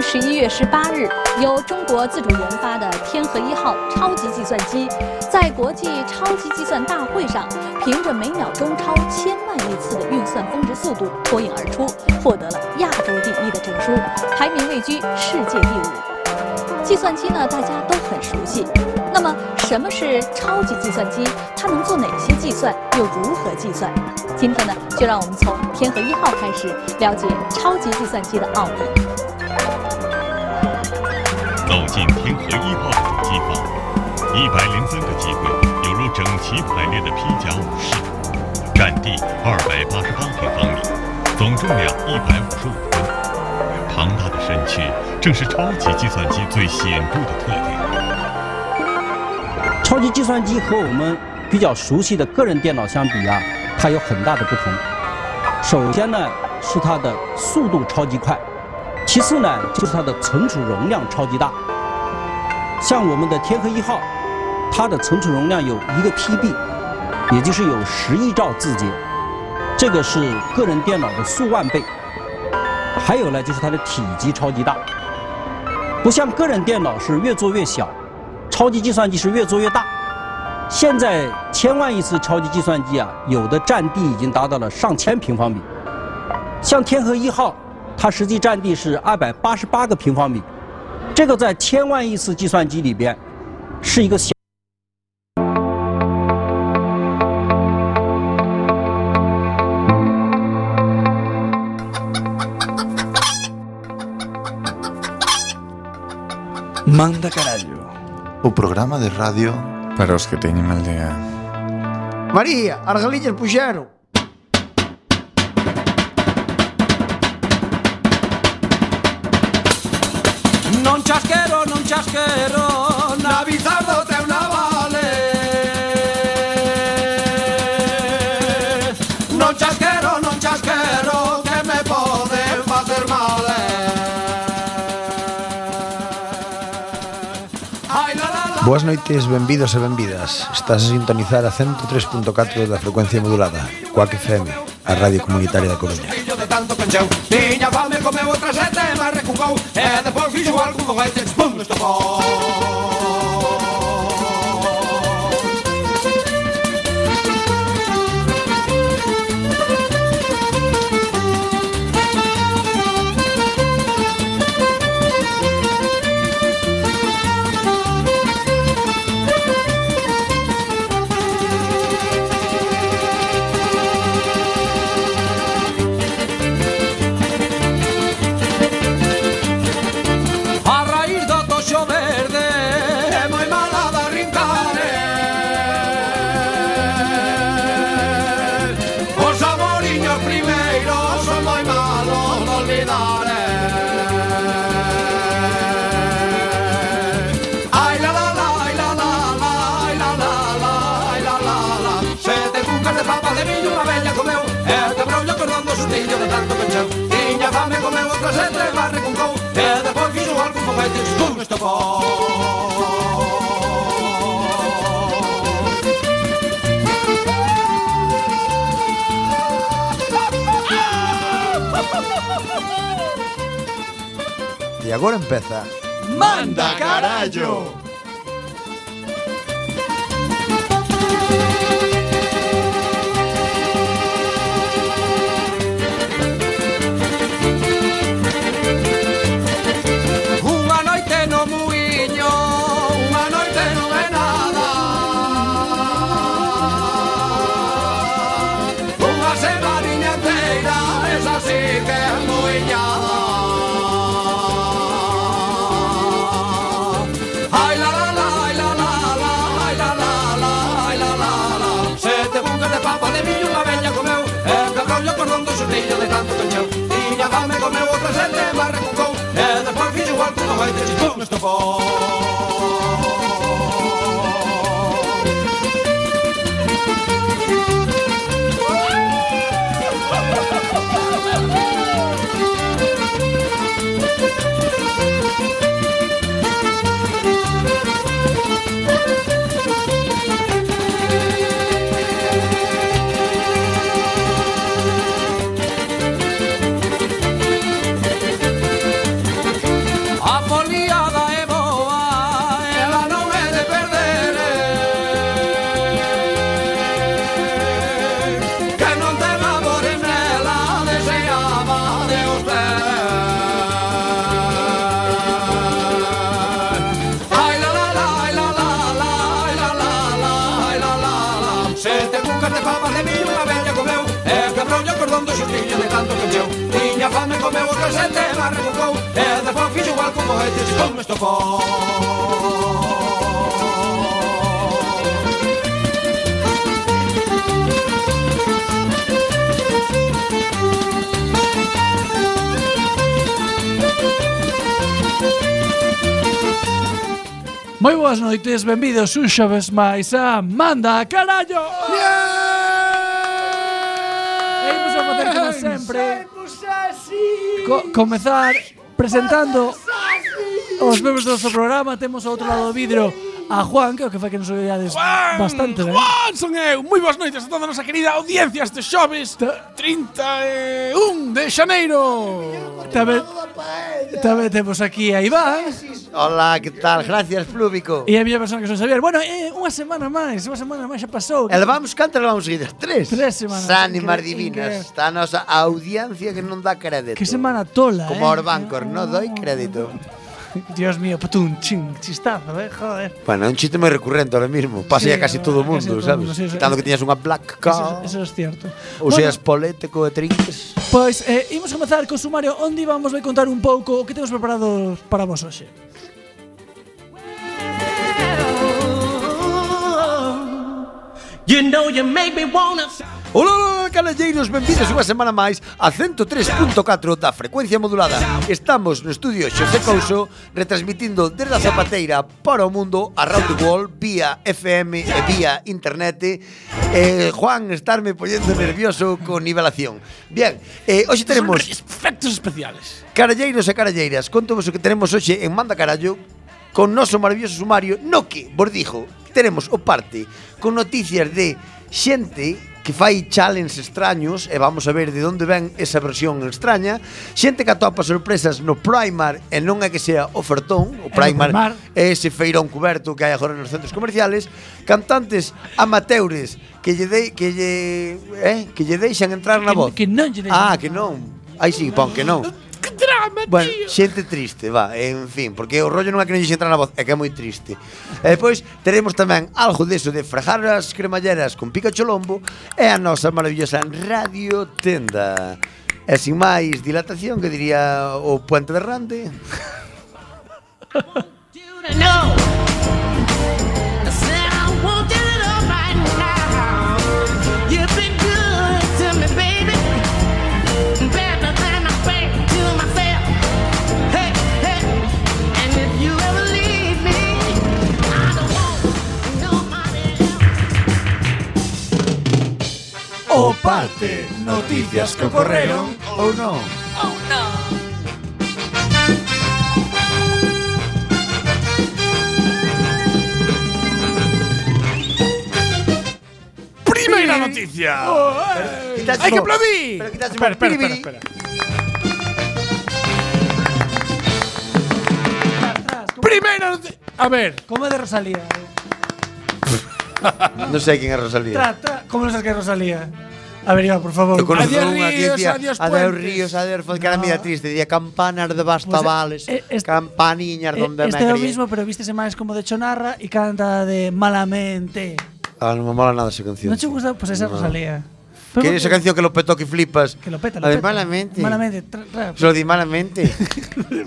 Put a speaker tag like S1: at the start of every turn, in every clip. S1: 十一月十八日，由中国自主研发的天河一号超级计算机，在国际超级计算大会上，凭着每秒钟超千万亿次的运算峰值速度脱颖而出，获得了亚洲第一的证书，排名位居世界第五。计算机呢，大家都很熟悉。那么，什么是超级计算机？它能做哪些计算？又如何计算？今天呢，就让我们从天河一号开始了解超级计算机的奥秘。
S2: 走进天河一号的主机房，一百零三个机柜犹如整齐排列的披甲武士，占地二百八十八平方米，总重量一百五十五吨。庞大的身躯正是超级计算机最显著的特点。
S3: 超级计算机和我们比较熟悉的个人电脑相比啊，它有很大的不同。首先呢是它的速度超级快，其次呢就是它的存储容量超级大。像我们的天河一号，它的存储容量有一个 PB，也就是有十亿兆字节，这个是个人电脑的数万倍。还有呢就是它的体积超级大，不像个人电脑是越做越小，超级计算机是越做越大。现在千万亿次超级计算机啊，有的占地已经达到了上千平方米。像天河一号，它实际占地是二百八十八个平方米，这个在千万亿次计算机里边是一个小。
S4: Manda carallo.
S5: O programa de radio
S6: Para os que teñen aldea
S4: María, as galiñas puxeron. Non chasquero, non chasquero, na bizardo te una vale. Non chasquero, non chasquero, que me pode facer mal. eh. Ai, la, la, la.
S5: Boas noites, benvidos e benvidas Estás a sintonizar a 103.4 da frecuencia modulada Coac FM, a radio comunitaria da Coruña
S4: Fillo de tanto pencheu Tiña fame, comeu outra sete, mas recucou E depois fixo algún foguete Pum, nos topou A raíz do toxo verde É moi mala da rincare Os amoriños primeiros Son moi malos de olvidar eh. Ai la la la, ai la la la Ai la la la, ai la la la Sete cucas de papa de viño Unha bella comeu E te brollo perdón do sustillo de tanto pencheu Tiña fame comeu outra sete Mas recuncou E depois fixo algún foguete Pum, estopou
S5: E agora empeza
S4: ¡Manda carallo! Unha noite no muiño Unha noite non é nada Unha semaninha inteira Esa sí que é muiñada Ai la la la, ai la la la Ai la la la, ai la la la Sete bucas de papa de miño unha veña comeu E que rollo con rondo xurrillo de tanto cañeu Tiña fame comeu outra sete mas recucou E despois fixo igual que non vai ter chispón estopou papa de mí unha vella comeu E quebrou o cordón do xustillo de tanto que meu Tiña fame comeu o calcete, mas recucou E despois fixo igual con mojetes e con me estofou
S7: Moi boas noites, benvidos un xoves máis a Manda a Carallo! E imos a facer como sempre co Comezar presentando os membros do noso programa Temos ao outro lado do vidro a Juan, que é o que fai que nos oiades bastante ¿eh? ben
S8: Juan, son eu. Moi boas noites a toda a nosa querida audiencia este xoves 31 de xaneiro.
S7: Tamén, tamén temos aquí a Iván
S9: Hola, que tal? Gracias, Plúbico.
S7: e a miña persona que son Xavier Bueno, eh, unha semana máis, unha semana máis xa pasou
S9: E levamos cantas levamos seguidas? Tres.
S7: Tres semanas.
S9: Sánimas
S7: Incre- incre-
S9: divinas. Está a nosa audiencia que non dá crédito.
S7: Que semana tola,
S9: Como
S7: eh.
S9: aos bancos, non doi crédito.
S7: Dios mío, patún, ching, chistazo, eh, joder.
S5: Bueno, é un chiste moi recurrente ahora mismo. Pasa sí, a
S7: Sí,
S5: casi
S7: a
S5: todo o mundo,
S7: casi todo
S5: sabes?
S7: mundo, sí, sí.
S5: Quitando que tiñas unha black
S7: Eso,
S5: car,
S7: eso es cierto.
S5: ou seas polético e trinques.
S7: pois eh, imos comezar co sumario onde vamos vai contar un pouco o que temos preparado para vos hoxe.
S8: You know you make me wanna
S5: Ola, ola, calalleiros, benvidos unha semana máis a 103.4 da frecuencia modulada. Estamos no estudio Xosé Couso retransmitindo desde a Zapateira para o mundo a Round the World vía FM e vía internet. Eh, Juan, estarme poñendo nervioso con nivelación. Bien, eh, hoxe tenemos
S8: efectos especiales.
S5: Caralleiros e caralleiras, contovos o que tenemos hoxe en Manda Carallo con noso maravilloso sumario no que, vos dixo, tenemos o parte con noticias de xente que fai challenges extraños e vamos a ver de onde ven esa versión extraña xente que atopa sorpresas no Primar e non é que sea ofertón o Primar,
S7: Primar.
S5: é ese feirón cuberto que hai agora nos centros comerciales cantantes amateures que lle dei, que lle, eh, que lle deixan entrar na
S7: Que-
S5: voz
S7: que non lle deixan
S5: ah, que non Aí sí, pon que non
S8: Que drama,
S5: Bueno,
S8: tío.
S5: xente triste, va, en fin, porque o rollo non é que non lle entra na voz, é que é moi triste. E depois teremos tamén algo deso de frejar as cremalleras con pica cholombo e a nosa maravillosa radio tenda. E sin máis dilatación, que diría o Puente de Rande,
S8: O parte, noticias que ocorreron
S5: ou non?
S8: Primeira noticia.
S5: Quitaxe
S8: Hai que
S5: o-
S8: aplaudir.
S5: Pero quitaxe o
S8: Espera, espera, espera,
S5: piribiri.
S8: espera. Primeira noticia. A ver,
S7: Como é de Rosalía. eh.
S5: Non sei quen é Rosalía.
S7: Tra, tra, como non sabes que é Rosalía? A ver, Iván, por favor.
S5: Eu conozco
S8: Adiós
S5: unha que
S8: ríos,
S5: dicía
S8: adiós
S5: Adeus
S8: puentes".
S5: ríos, adeus fontes, que era mía triste, dicía campanas de bastavales,
S7: Pues, eh, es-
S5: campaniñas
S7: Eh,
S5: donde me
S7: este é o
S5: criei.
S7: mismo, pero vístese máis como de Chonarra e canta de Malamente.
S5: Ah, non me mola nada esa canción.
S7: Non che gusta? Pois pues esa é
S5: No.
S7: Rosalía. Pero
S5: Que esa
S7: porque-
S5: canción que lo petó que flipas.
S7: Que lo peta, lo
S5: La de
S7: peta.
S5: malamente.
S7: Malamente. Tra, tra.
S5: Se lo di malamente.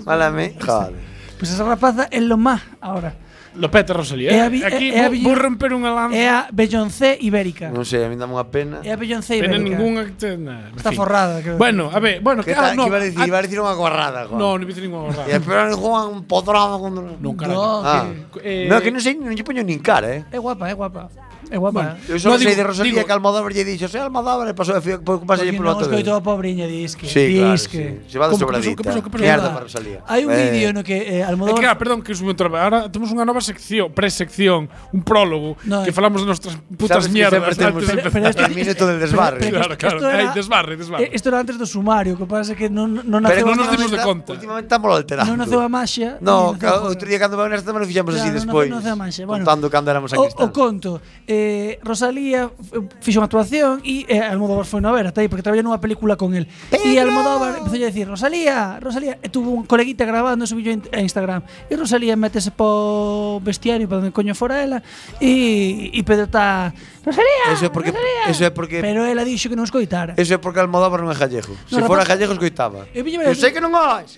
S5: malamente. Joder.
S7: Pois Pues esa rapaza é lo má ahora.
S8: Lo peta Rosalía.
S7: É
S8: eh.
S7: a vi-
S8: Aquí
S7: é a
S8: vou-
S7: vi-
S8: vou romper unha lanza.
S7: É a Beyoncé ibérica.
S5: Non sei, a mí dame unha pena.
S7: É a Beyoncé
S8: Pena
S7: ibérica.
S8: ningunha que te, na, en
S7: e Está
S8: fin.
S7: forrada, creo.
S8: Bueno, a ver, bueno,
S5: Que
S8: que,
S5: ta,
S8: ah, no,
S5: que iba a decir,
S8: ah,
S5: iba a decir unha guarrada, Juan.
S8: no, non dicen ninguna
S5: E
S8: borrada.
S5: espero que Juan podraba contra...
S8: Non,
S7: No,
S8: carajo.
S5: Ah.
S8: Eh,
S5: no, que non sei, non lle poño nin cara, eh.
S7: É guapa, é guapa. É guapa.
S8: Bueno,
S5: Eu só no,
S8: No,
S5: sei de
S8: digo-
S5: Rosalía
S8: digo-
S5: que Almodóvar lle dixo, sei Almodóvar, e pasou de fío, pasa
S7: Porque
S5: lle polo
S7: non
S5: ato
S7: escoito
S5: dele.
S7: a pobriña disque.
S5: Sí, claro, sí.
S7: disque.
S5: Se va de
S8: Como que pasou,
S5: sobradita.
S8: que pasou, que pasou,
S5: Mierda
S8: que
S5: para Rosalía.
S7: Hai un
S5: Eh,
S7: vídeo no que eh,
S8: É que, ah,
S7: Almodóvar...
S8: perdón, que es un traballo. Ahora temos unha nova sección, presección, un prólogo,
S7: No, eh.
S8: que falamos de nostras putas
S5: Sabes que
S8: mierdas.
S5: sempre temos-
S8: antes de
S5: Pero-
S8: empezar.
S5: esto- El minuto del desbarre.
S8: Claro, claro.
S7: esto era-
S8: Ay, desbarre, desbarre.
S7: eh, Esto era antes do sumario, que pasa que non, non
S5: pero
S7: naceu,
S8: non nos
S5: últimamente-
S8: dimos de conta.
S5: Últimamente estamos alterando.
S7: non naceu a maxia.
S5: No,
S7: nin
S5: ca-
S7: naceu a-
S5: outro día cando veu nesta semana fixemos Pues así
S7: Claro, non naceu-
S5: despois.
S7: non naceu a maxia. eh, Bueno,
S5: Contando cando éramos aquí.
S7: O, o conto. Eh, eh, Rosalía f- fixo unha actuación e eh, Almodóvar foi no ver ata aí porque traballou nunha película con el. E Almodóvar empezou a dicir Rosalía, Rosalía, e tuvo un coleguita grabando e subiu a Instagram. E Rosalía métese po vestiario para onde coño fora ela e, e Pedro está Rosalía,
S5: Eso é porque-
S7: Rosalía.
S5: eso é porque-
S7: Pero ela dixo que non escoitara.
S5: Eso é porque Almodóvar non é gallego. Se
S7: rapaz-
S5: fora gallego, escoitaba.
S7: Eu viña-
S5: Eu sei que non ois.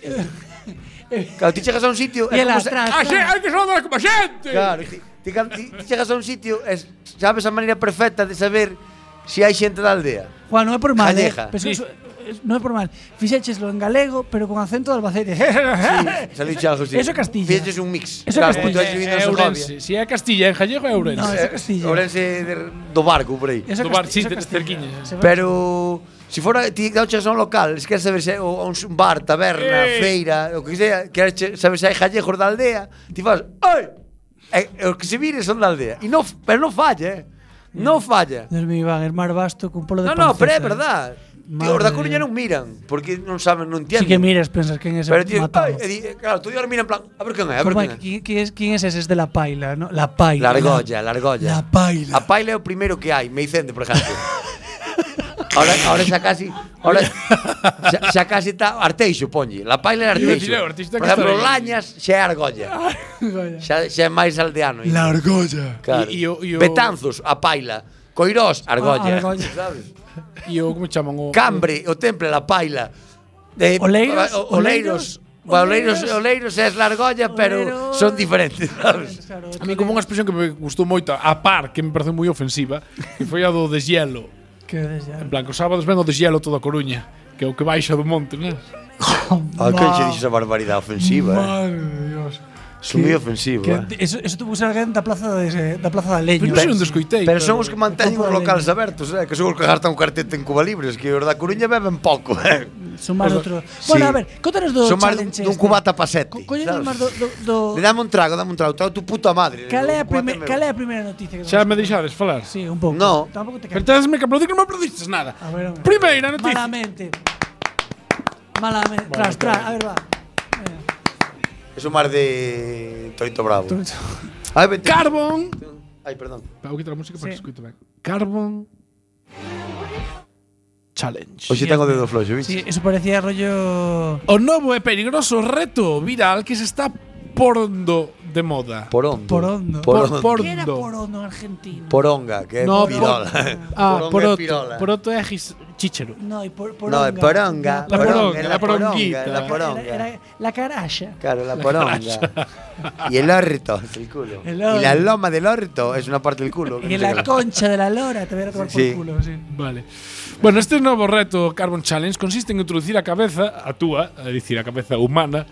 S5: Claro, ti chegas a un sitio...
S7: E
S5: é
S7: ela
S5: como se-
S7: atrás.
S8: ¡Ah,
S4: Así hai que sonar como a xente.
S5: Claro, ti, ti, cal- ti ti chegas a un sitio e sabes a maneira perfecta de saber se hai xente da aldea.
S7: Juan, non é por mal, eh,
S5: Calleja.
S7: pero
S4: Sí.
S7: sí. non é por mal. Fixécheslo en galego, pero con acento de Albacete.
S5: Se lo dicho algo así.
S7: Eso é Castilla.
S5: Fixeches un mix.
S7: Eso é
S5: claro,
S7: Castilla.
S5: pues Tú
S8: Eh,
S5: has vivido en
S4: É
S5: Segovia.
S4: Ourense. Si é Castilla, en Gallego é Ourense.
S7: No, eso é Castilla.
S5: Ourense de- do barco, por aí.
S7: Eso é
S4: Do bar, sí,
S7: Casti- eso é
S4: de-
S7: Castilla.
S4: cerquiña.
S7: Se ve-
S5: Pero se fora ti que chegas a un local, es queres saber se é o- a un s- un bar, taberna,
S4: Ei.
S5: feira, o que sea, queres che- saber se hai gallegos da aldea, ti fas, oi, e, e os que se vire son da aldea. E no, f- pero non falla, eh. Non falla.
S7: Dios mío, Iván, hermar basto con polo de ¿eh?
S5: No, no, pero é
S7: panceta.
S5: verdad. Tío,
S7: Madre
S5: os da
S7: mía.
S5: Coruña non miran, porque non saben, non
S7: Sí
S5: entienden.
S7: que miras, pensas que en ese
S5: Pero tío,
S7: matado.
S5: ai, e di, claro, tú miran en plan, a ver quen é, a ver
S7: Como
S5: quen é.
S7: é? ¿Qui- qui es- ¿Quién es ese? Es de la paila, ¿no? La paila.
S5: La argolla, la argolla.
S7: La paila.
S5: A paila é o primeiro que hai, Meicende, por exemplo. Ahora, ahora xa casi ahora xa, xa casi está Arteixo, ponlle. La paila é
S4: Iba a decir,
S5: Arteixo.
S4: o artista
S5: Por
S4: que está
S5: exemplo,
S4: aí.
S5: Lañas xa é argolla. Xa, xa é máis aldeano.
S7: La argolla.
S5: Claro.
S4: E- e o- e o-
S5: Betanzos, a paila. Coirós, argolla.
S7: Ah, argolla.
S5: Sabes?
S4: E o como chaman o
S5: Cambre, o temple, la paila. Eh,
S7: Oleiros,
S5: o- Oleiros. Oleiros, Oleiros
S7: Oleiros.
S5: é la argolla, pero
S7: Oleiros.
S5: son diferentes, sabes?
S7: Claro,
S4: A mí como unha expresión que me gustou moito, a par que me pareceu moi ofensiva, que foi a do deshielo.
S7: que desea.
S4: En plan, que os sábados ven o deshielo toda a Coruña, que é o que baixa do monte, non?
S5: Ah, que che dixo esa barbaridade ofensiva, eh?
S7: Madre de Dios.
S5: Son moi ofensivo,
S7: Que,
S5: eh?
S7: eso, eso tuvo que ser alguén da plaza de, da plaza da leño.
S4: Pero non sei onde escoitei.
S5: Pero son os que manteñen os
S7: Opa,
S5: locales abertos, eh? Que son os que gastan o cartete en Cuba Libres, que os da Coruña beben pouco, eh?
S7: Sumar outro.
S5: Sí.
S7: Bueno, a ver, contanos do
S5: Son máis dun,
S7: challenge
S5: dun
S7: este.
S5: cubata pa sete.
S7: Co- Coñenos
S5: sabes?
S7: máis do... do,
S5: Le
S7: do
S5: dame un trago, dame un trago, trago tu puta madre.
S7: cal, é
S5: Un
S7: a
S5: cubata
S7: primer,
S5: meu.
S7: cal é a primeira noticia que
S4: Xa me
S7: vamos a-
S4: deixades falar.
S7: Sí, un pouco.
S5: No.
S7: Tampouco te
S4: Pero
S7: quero.
S4: tedes me que aplaudir que non me aplaudistes nada.
S7: A ver, hombre.
S4: Primeira noticia.
S7: Malamente. Malamente. tras, tras. A ver, va.
S5: Eso máis de Torito Bravo.
S7: Tú-
S5: Ai, vente.
S4: Carbon.
S5: Ai, perdón.
S4: Vou quitar a música para que
S7: Sí.
S4: escuite ben. Carbon. Challenge.
S5: Hoxe tengo dedo floxo,
S7: Sí,
S5: bicho.
S7: eso parecía rollo...
S4: O novo e peligroso reto viral que se está porndo de moda.
S5: Porondo.
S7: Porondo.
S5: Porondo.
S4: Por-
S7: ¿Qué era
S4: Porno.
S7: porondo en Argentina?
S5: Poronga, que é
S4: No, por-
S5: pirola.
S4: Ah,
S5: Poronga é pirola.
S4: poroto. Poroto é gis- chíchero.
S7: No, y por,
S5: No, é poronga.
S7: poronga.
S4: La poronga,
S5: é
S4: la poronguita.
S5: poronga, é La poronga.
S7: Era, era la caralla.
S5: Claro, la poronga. y el orto es el culo.
S7: El
S5: y la
S7: orto.
S5: loma del orto es una parte del culo.
S7: Y en
S5: No sé
S7: la
S5: qué-
S7: concha de la lora te voy a tomar
S5: Sí.
S7: por culo, sí.
S4: Vale. Bueno, este novo reto Carbon Challenge consiste en introducir a cabeza, a túa, é dicir, a cabeza humana,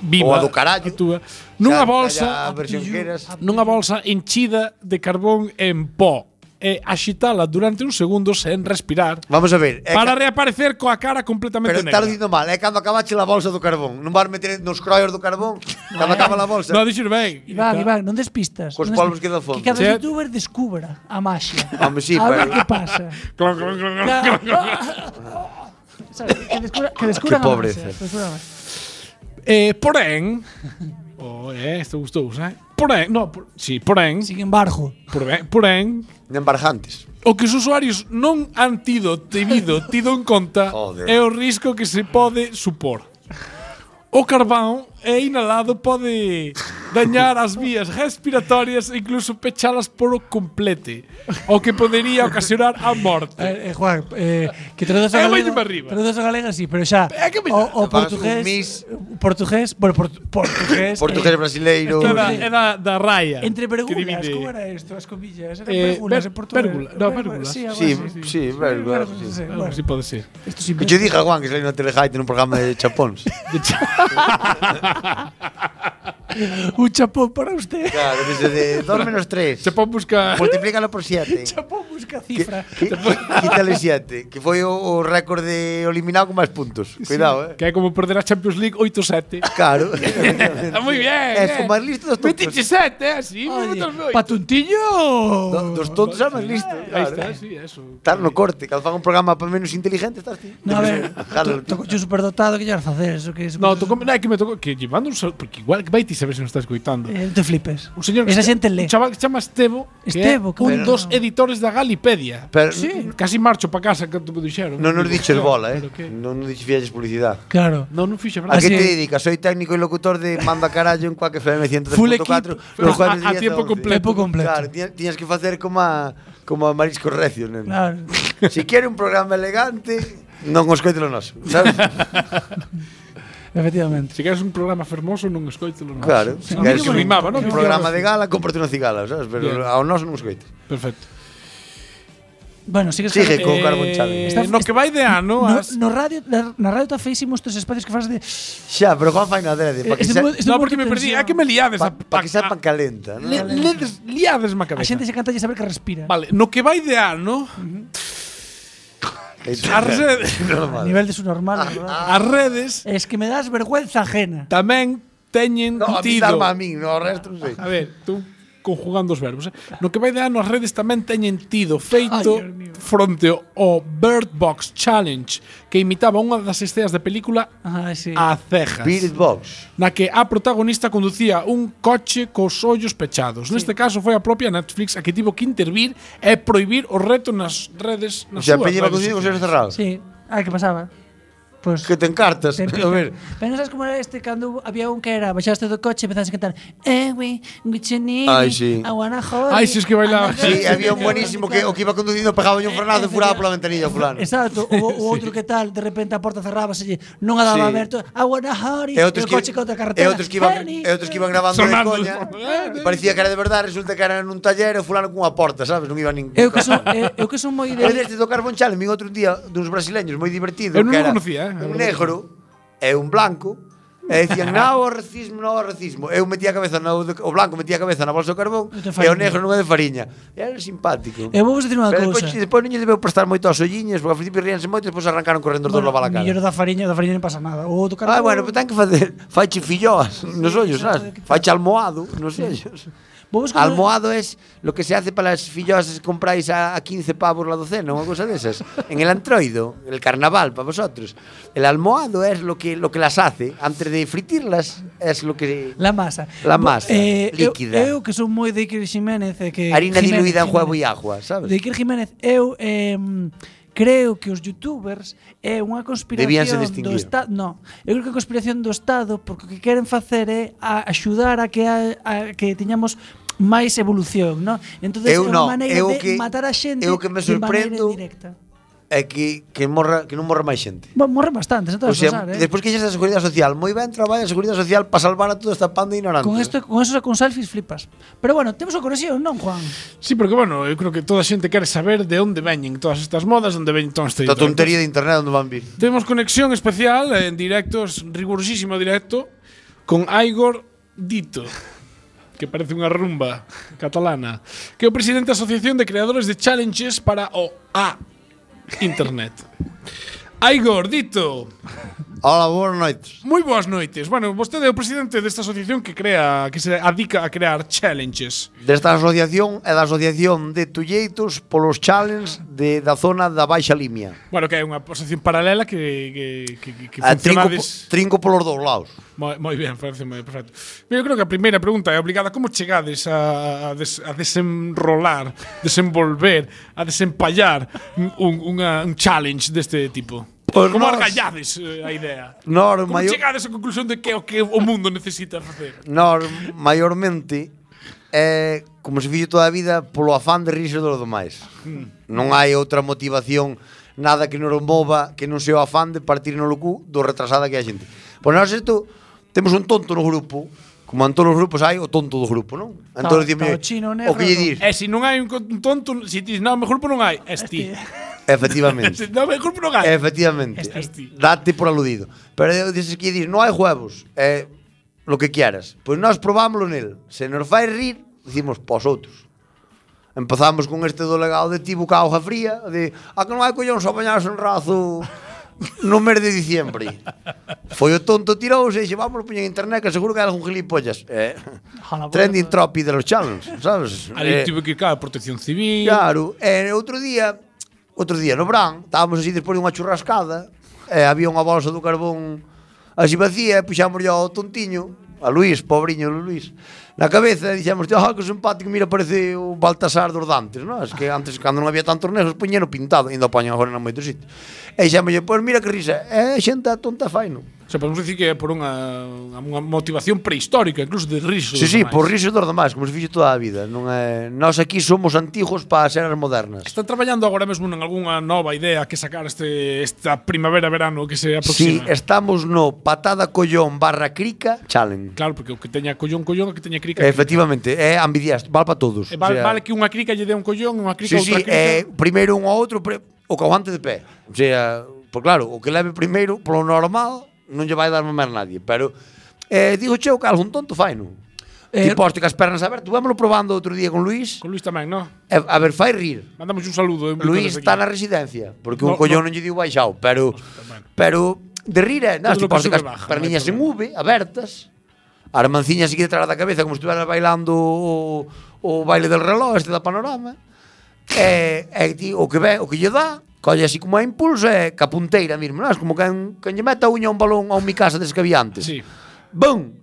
S4: viva,
S5: Ou a do carallo.
S4: a túa,
S5: Xa,
S4: nunha
S5: xa,
S4: bolsa,
S5: a versión que eras.
S4: nunha bolsa enchida de carbón en pó e axitala durante uns segundos sen respirar
S5: Vamos a ver. é
S4: para
S5: ca-
S4: reaparecer coa cara
S5: pero
S4: completamente negra.
S5: está diciendo mal. É cando acabache la bolsa do carbón. Non vas meter nos croios do carbón cando acaba la bolsa.
S4: No, dixo ben. Está-
S7: Iván, Iván, non despistas.
S5: Cos
S7: non
S5: polvos
S7: despistas.
S5: que do fondo.
S7: Que cada
S4: Sí.
S7: youtuber descubra a maxia.
S5: Home, sí,
S7: a ver
S5: pero-
S7: que pasa.
S4: Clon, clon, clon, clon, clon, clon.
S7: Sabes, que descubra, que descubra
S5: Que pobreza.
S4: Eh, porén, oh, eh, isto gustou, eh? Porén, no, por, sí, porén,
S7: Sin embargo,
S4: porén, porén,
S5: Nen barjantes.
S4: O que os usuarios non han tido, debido, tido en conta
S5: Joder.
S4: é o risco que se pode supor. O carbón é inhalado pode dañar as vías respiratorias e incluso pechalas por o complete, o que podería ocasionar a morte.
S7: eh, eh, Juan, eh, que traduces a
S4: Eu
S7: galego,
S4: veño pa arriba. Eh,
S7: traduces a galego sí, pero xa
S4: É que me-
S7: o, o
S5: Vas un
S7: portugués,
S5: mis-
S7: portugués, bueno, portu- portugués,
S5: Portugués
S7: eh,
S5: brasileiro.
S4: É da, é da, da raya.
S7: entre
S4: que
S7: vergulas,
S4: divide.
S7: como era esto, as comillas, eran
S4: Eh,
S7: vergulas
S4: ver-
S7: en portugués.
S4: vérgula, no,
S7: Vergu-
S4: vérgulas.
S7: Sí, algo
S5: Sí,
S7: así,
S5: sí, vergulas,
S7: vergulas,
S5: sí.
S7: sí,
S4: Algo
S7: bueno.
S4: así pode ser.
S7: Esto sí
S5: Que yo dije a Juan que salió na Telejaite nun programa de chapóns.
S7: un chapón para usted.
S5: Claro, desde de 2 menos 3.
S4: Se pode buscar...
S5: Pues- Multiplícalo por 7.
S7: chapón busca
S5: Que-
S7: cifra.
S5: que- Quítale 7, que foi o, o récord de eliminado con máis puntos. Cuidado, eh.
S4: Que é como perder a Champions League 8-7.
S5: Claro.
S4: Está moi ben.
S5: É, son máis listos dos tontos.
S4: 27, eh, así.
S7: Oye,
S4: 28.
S7: patuntiño.
S5: Do- Dos tontos é máis listo.
S4: Ahí
S5: Claro. eh.
S4: está, sí, eh. eso.
S5: Estar no corte, que fan un programa para menos inteligente, estás ti.
S7: No, a ver,
S5: Jalo.
S7: toco yo superdotado que llevas a hacer eso que es
S4: No, tocou, non é que me tocou que llevando un sol, porque igual que vai ti a ver se nos está escoitando.
S7: Eh, non te flipes.
S4: Un señor que
S7: Esa
S4: se-
S7: xente le.
S4: Un chaval que se chama Estevo,
S7: Estevo,
S4: que é un
S7: cabrón.
S4: dos editores da Galipedia.
S5: Pero
S4: Sí. Casi marcho para casa cando me dixeron.
S5: non nos
S4: Digo,
S5: diches
S4: "Hostia,
S5: bola, eh.
S4: pero que-".
S5: Non nos diches fialles publicidade.
S7: Claro.
S4: Non, non fixe
S5: A
S4: brasa.
S7: Así
S5: que te
S7: es.
S5: dedicas? Soy técnico y locutor de Manda Carallo en Cuac FM
S7: Full equipo.
S5: 103.4
S4: Pero
S5: los
S4: a- a
S5: jueves de 10
S4: tiempo
S5: 11.
S4: completo.
S7: Tiempo completo.
S5: Claro, tiñas, tiñas que facer como a, como a Marisco Recio, neno.
S7: Claro.
S5: Si quere un programa elegante, non os coite lo noso, sabes?
S7: Efectivamente.
S4: Se queres un programa fermoso, non escoitelo nós.
S5: Claro,
S4: Sí.
S5: si
S4: A mí
S5: queres
S4: non me
S5: un-
S4: animaba, non?
S5: Un programa de gala, cómprate unha cigala, sabes? Pero
S4: Bien.
S5: ao noso non os coite.
S4: Perfecto. Eh,
S7: Bueno, sigues
S5: Sigue
S7: con-
S5: co carbón challenge.
S7: Está-
S4: no que vai de ano,
S7: No,
S4: as-
S7: no radio, na, na radio está feísimo estes espacios que fas de
S5: Xa, pero Juan fai na adrede, para que,
S7: este
S5: se,
S7: mo- este
S4: No,
S7: momento
S4: porque
S7: de
S4: me perdí.
S7: tensión.
S4: Ah, que me liades. a-
S5: pa, pa que
S4: a-
S5: sepa
S4: a-
S5: calenta, non?
S4: Le- ledes- liades má
S7: A
S4: cabeza.
S7: xente se canta saber que respira.
S4: Vale, no que vai de ano, as redes,
S7: A nivel de su
S5: Ah,
S7: normal, na verdade.
S4: as redes
S7: Es que me das vergüenza ajena.
S4: tamén teñen
S5: No, a mí
S4: tido...
S5: darme a mí, no, o resto non sei.
S4: A ver, tú conjugando os verbos. Eh? No que vai de ano as redes tamén teñen tido feito
S7: Ai, Dios mío.
S4: fronte ao Bird Box Challenge que imitaba unha das escenas da película
S7: Ah, sí.
S4: a cejas.
S5: Spirit Box.
S4: na que a protagonista conducía un coche cos ollos pechados. Neste caso foi a propia Netflix a que tivo que intervir e prohibir o reto nas redes
S5: O
S4: nas
S5: sea,
S4: súas
S5: Peña
S4: redes
S5: va consigo con
S4: sociais.
S5: seres cerrados.
S7: Sí. Ah, que pasaba? Pues
S5: Que te encartas.
S7: Sempre.
S5: A ver,
S7: Pero non sabes como era este cando había un que era baixaste do coche e empezas a cantar Eh, we, we you need
S5: Ai, sí.
S7: me, I wanna hold
S4: Ai, si
S7: you,
S4: es que bailaba.
S7: I wanna
S5: Sí,
S7: hold
S5: había un
S7: you".
S5: buenísimo que o que iba conducindo pegaba un frenazo e furaba pola ventanilla o fulano.
S7: Exacto, o, o outro que tal, de repente a porta cerraba, non a daba
S5: Sí.
S7: aberto, I wanna hold you",
S5: E outros
S7: o
S5: que
S7: coche contra a
S5: e
S7: carretera.
S5: outros que iban
S7: "Honey".
S5: e outros que iban grabando de
S4: Sonando.
S5: coña. Parecía que era de verdade, resulta que era nun taller e o fulano cunha porta, sabes? Non iba nin.
S7: Eu que son, eu, eu que son moi
S5: Eu
S7: de
S5: deste do Carbon Challenge, vin outro día duns brasileños moi divertido,
S4: Eu non
S5: que
S4: o
S5: era
S4: conocía, eh.
S5: un negro e un blanco. E dicían, no, o racismo, no, o racismo. Eu metía a cabeza, no, o blanco metía a cabeza na bolsa do carbón e
S7: Eu te
S5: o
S7: faría.
S5: negro non é de fariña. E era simpático.
S7: Eu vou vos dicir unha
S5: Pero
S7: cousa.
S5: despois, despois non lle debeu prestar moito aos olliños, porque ao principio ríanse moito, despois arrancaron correndo os dos lava la cara.
S7: Millor da fariña, da fariña non pasa nada. O do
S5: Ah,
S7: cartón-
S5: bueno, pues ten que facer Faiche filloas nos ollos, sabes? Faiche almohado nos ollos
S7: Vou vos contar-
S5: Almohado es lo que se hace para las filloas es que compráis a, a 15 pavos la docena, una cosa de esas. En el antroido, el carnaval para vosotros. El almohado es lo que, lo que las hace. Antes de fritirlas es lo que...
S7: La masa.
S5: La
S7: Bo- eh,
S5: masa,
S7: eu-
S5: líquida.
S7: Eu, que son moi de Iker Jiménez, e que
S5: harina
S7: Jiménez,
S5: diluida en huevo y
S7: Jiménez.
S5: agua,
S7: De
S5: ¿sabes?
S7: Iker Jiménez, eu em, creo que os youtubers é unha
S5: Debíanse
S7: conspiración do
S5: distinguir.
S7: Estado, no, eu creo que é conspiración do Estado porque o que queren facer é a axudar a que a, a que teñamos máis evolución, no? Entonces
S5: Eu
S7: é
S5: non,
S7: unha maneira
S5: eu
S7: de
S5: que-
S7: matar a xente
S5: eu que me
S7: de maneira
S5: sorprendo-
S7: directa.
S5: É Eh, que, que, morra, que non morra máis xente.
S7: Bueno, morren bastantes,
S5: O
S7: entonces,
S5: sea,
S7: pasar, eh?
S5: despois que xa da Seguridade Social, moi ben traballa a Seguridade Social para salvar a toda esta panda de ignorantes.
S7: Con esto, con eso con selfies flipas. Pero bueno, temos a conexión, non, Juan?
S4: Sí, porque bueno, eu creo que toda a xente quere saber de onde veñen todas estas modas, onde veñen todas estas
S5: Esta Tota tontería de internet onde van vir.
S4: Temos conexión especial eh, en directos, rigurosísimo directo, con Igor Dito, que parece unha rumba catalana, que é o presidente da Asociación de Creadores de Challenges para o A Internet. Igor Dito,
S5: Hola, boas noites.
S4: moi boas noites. Bueno, vostede é o presidente desta asociación que crea, que se adica a crear challenges.
S5: Desta asociación é da Asociación de Tulleitos polos challenge de, da zona da Baixa Limia.
S4: Bueno, que hai unha asociación paralela que, que, que, que
S5: A trinco, po-
S4: funcionades...
S5: trinco polos dous lados.
S4: Moi, moi ben, parece moi perfecto. Mira, eu creo que a primeira pregunta é obligada. Como chegades a, a, des, a desenrolar, desenvolver, a desempallar un, unha, un challenge deste tipo?
S5: Pois
S4: Como
S5: nós-
S4: argallades eh, a idea?
S5: Nor,
S4: Como
S5: maior,
S4: chegades á conclusión de que é o que o mundo necesita facer?
S5: nor maiormente é como se fixo toda a vida polo afán de rirse dos demais. Non hai outra motivación nada que nos mova que non sea o afán de partir no cu do retrasada que é a xente. Pois nós isto temos un tonto no grupo, como en todos os grupos hai o tonto do grupo, non? Entón,
S7: Tá-
S5: dicimos,
S7: tá o chino, o
S5: o
S7: negro,
S5: que lle
S7: o-
S5: dir,
S4: E se non hai un co- un tonto, se ti, non, mejor non hai, és ti.
S5: efectivamente.
S4: Se non, mejor non
S5: Eh,
S4: hai.
S5: Efectivamente.
S4: Este.
S5: Date por aludido. Pero eu dices que dis, non hai huevos, eh, lo que quieras. Pois nós probámoslo nel. Se nos fai rir, dicimos pos outros. Empezamos con este do legado de Tibu ca hoja fría, de a que non hai collóns a bañarse en razo no mes de diciembre. Foi o tonto tirouse e dixe, vamos poñer en internet que seguro que hai algún gilipollas. Eh,
S7: Ojalá,
S5: trending topic de los challenge, sabes?
S4: Ali
S5: Eh,
S4: tivo que ir, claro, protección civil.
S5: Claro, e outro día, outro día no Bran, estábamos así despois dunha churrascada, e había unha bolsa do carbón así vacía, e puxámoslle ao tontiño, a Luís, pobriño Luís. Na cabeza dixemos, ah, que simpático, mira, parece o Baltasar dos Dantes, non? Es que antes, cando non había tantos nesos, poñeno pintado, ainda o poñen agora en moitos sitios. E dixemos, pois mira que risa, é xente a tonta fai, non?
S4: O sea, podemos dicir que é por unha, unha motivación prehistórica, incluso de riso. e
S5: Sí, sí,
S4: demais.
S5: por risos dos demais, como se fixo toda a vida. Non é... Nós aquí somos antigos para ser as modernas.
S4: Están traballando agora mesmo en algunha nova idea que sacar este esta primavera-verano que se
S5: Si, sí,
S4: aproxima.
S5: estamos no patada collón barra crica challenge.
S4: Claro, porque o que teña collón, collón, o que teña crica. crica.
S5: Efectivamente, é ambidiastro, vale para todos.
S4: E val, Eh, vale que unha crica lle dé un collón, unha crica
S5: sí, sí, eh,
S4: outra crica.
S5: é primeiro un ao outro, pre, o que aguante de pé. O sea, por claro, o que leve primeiro, polo normal, non lle vai dar mamar nadie, pero eh, digo che, o que algún tonto fai, non? Eh,
S7: Eh,
S5: tipo, hoste, que as pernas abertas, vámoslo probando outro día con Luís,
S4: Con Luis tamén, no?
S5: e, a ver, fai rir.
S4: Mandamos un saludo. un
S5: Luis
S4: desde
S5: está
S4: aquí.
S5: na residencia, porque
S4: No,
S5: un collón
S4: no.
S5: non lle diu baixao, pero
S4: bueno.
S5: pero de rir é, nas
S4: Todo lo
S5: tipo
S4: que
S5: as
S4: sube
S5: as
S4: baja,
S5: perniñas
S4: non hai
S5: en V abertas. A Armanciña sigue detrás da cabeza como se estivera bailando o, o baile del reloj este da panorama. E, e ti, o que ve, o que lle dá, colle así como a impulso e ca punteira mesmo, nas como quen, quen lle meta a uña a un balón a un mi casa des que había antes.
S4: Sí.
S5: Bum!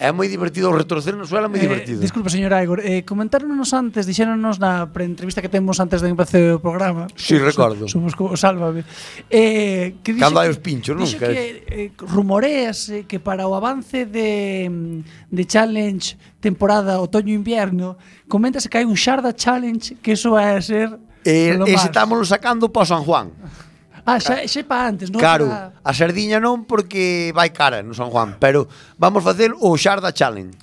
S5: É moi divertido, o retorcer no suelo é moi
S7: Eh,
S5: divertido.
S7: Disculpa, señor Aigor, eh, comentáronos antes, dixéronos na preentrevista que temos antes de empezar o programa.
S5: Sí, recordo.
S7: Somos como Sálvame. Eh, que dixe
S5: Cando hai
S7: que-
S5: os pinchos, non?
S7: Dixe
S5: Que-
S7: que eh, rumorease que para o avance de, mm, de Challenge temporada otoño-invierno coméntase que hai un Sharda Challenge que eso vai a ser
S5: Eh,
S7: polo
S5: ese
S7: mar.
S5: estámolo sacando para San Juan.
S7: Ah, xa, xa para antes, non?
S5: Claro,
S7: Para-
S5: a sardiña non porque vai cara no San Juan, pero vamos facer o Xarda Challenge.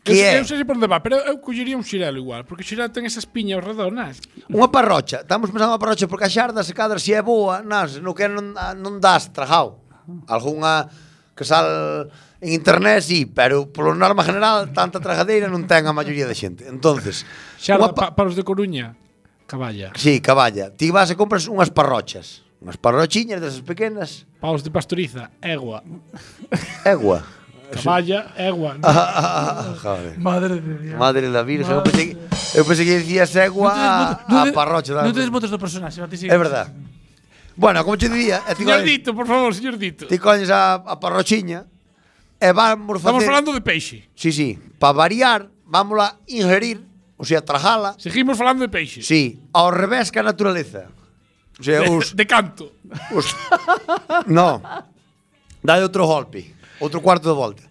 S4: Eu,
S5: Que é
S4: eu sei por onde va, pero eu collería un xirelo igual, porque o xirelo ten esas piñas redondas.
S5: unha parrocha. Estamos pensando unha parrocha porque a Xarda se cadra se é boa, nas, no que non, a- non das trajao. Algúnha que sal en internet, sí, pero polo norma general tanta trajadeira non ten a maioría da xente. Entonces,
S4: Xarda
S5: unha
S4: pa, para os de Coruña, caballa.
S5: Sí, caballa. Ti vas e compras unhas parrochas. Unhas parrochiñas desas pequenas.
S4: Para os de Pastoriza, egua.
S5: Egua.
S4: Caballa, egua.
S5: Ah, joder.
S7: Madre de Dios.
S5: Madre da Virgen, eu pensei, que- eu pensei que dicía
S7: Non tedes
S5: segua
S7: moto- non
S5: a, a
S7: te-
S5: parrocha.
S7: Non tedes
S5: da-
S7: motos do personaxe, Mati, sigue.
S5: É verdad. Bueno, como te dicía, e ti
S4: Señor
S5: coñes,
S4: Dito, por favor, señor Dito.
S5: ti coñes a, a parrochiña e vamos
S4: Estamos
S5: facer...
S4: falando de peixe.
S5: Sí, sí, para variar, vámonos a ingerir, o sea, trajala,
S4: Seguimos falando de peixe.
S5: sí, ao revés que a naturaleza. O
S4: De,
S5: sea, os...
S4: de canto.
S5: os no, dai outro golpe, outro cuarto de volta.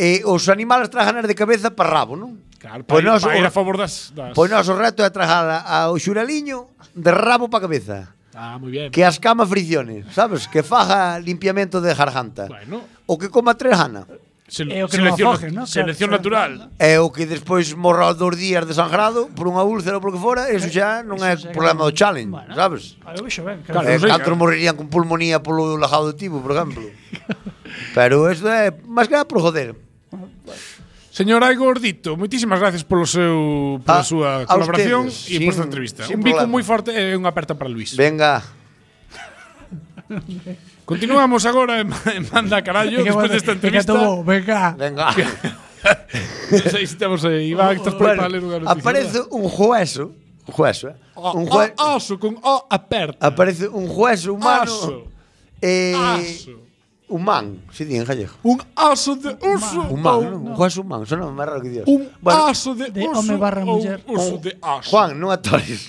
S5: E os animales trajanas de cabeza para rabo, non?
S4: Claro, para,
S5: Pois
S4: ir,
S5: nós
S4: para ir
S5: o-
S4: a favor das... das...
S5: Pois nós o reto é trajala ao xuraliño de rabo para cabeza.
S4: Ah, moi bien.
S5: Que as cama fricciones, sabes? Que faja limpiamento de garganta.
S4: Bueno,
S5: O que coma tres hana.
S4: se,
S7: É Eh, o que non
S4: selección,
S7: afoge,
S4: nat-
S7: ¿no? Claro,
S4: selección
S7: claro.
S4: natural.
S5: E o que despois morra os dos días desangrado por unha úlcera ou por que fora, eso xa non é
S7: Eso xa
S5: problema do challenge,
S7: Bueno.
S5: sabes?
S7: Ah, eu vexo ben,
S4: Claro,
S5: Eh,
S4: non sei,
S5: catro
S4: claro.
S5: morrerían con pulmonía polo lajado do tibo, por exemplo. Pero isto é máis que nada por joder.
S4: Señor Aigor Dito, moitísimas gracias polo seu pola
S5: A-
S4: súa
S5: a
S4: colaboración
S5: ustedes,
S4: e
S5: sin-
S4: por esta entrevista.
S5: sin
S4: Un bico
S5: problema.
S4: moi forte e unha aperta para Luis.
S5: Venga.
S4: Continuamos agora en, en Manda Carallo despois desta
S7: este
S4: entrevista.
S7: Venga, venga.
S5: este Venga.
S4: Non sei se temos aí. Iván, estás por aí para ler unha noticia.
S5: Aparece un jueso, un jueso, eh?
S4: O,
S5: Un
S4: o,
S5: jue-
S4: oso con O aperta.
S5: aparece un jueso humano.
S4: Oso.
S5: Eh,
S4: Aso.
S5: Humán, se di en gallego.
S4: Un oso de uso. ou-
S5: Humán, non? Un juez humán, sona máis raro que Dios.
S4: Un
S5: Bueno,
S4: oso de,
S7: de
S4: uso.
S7: home barra
S4: ou
S7: muller.
S4: Uso de oso.
S5: Juan, non atores.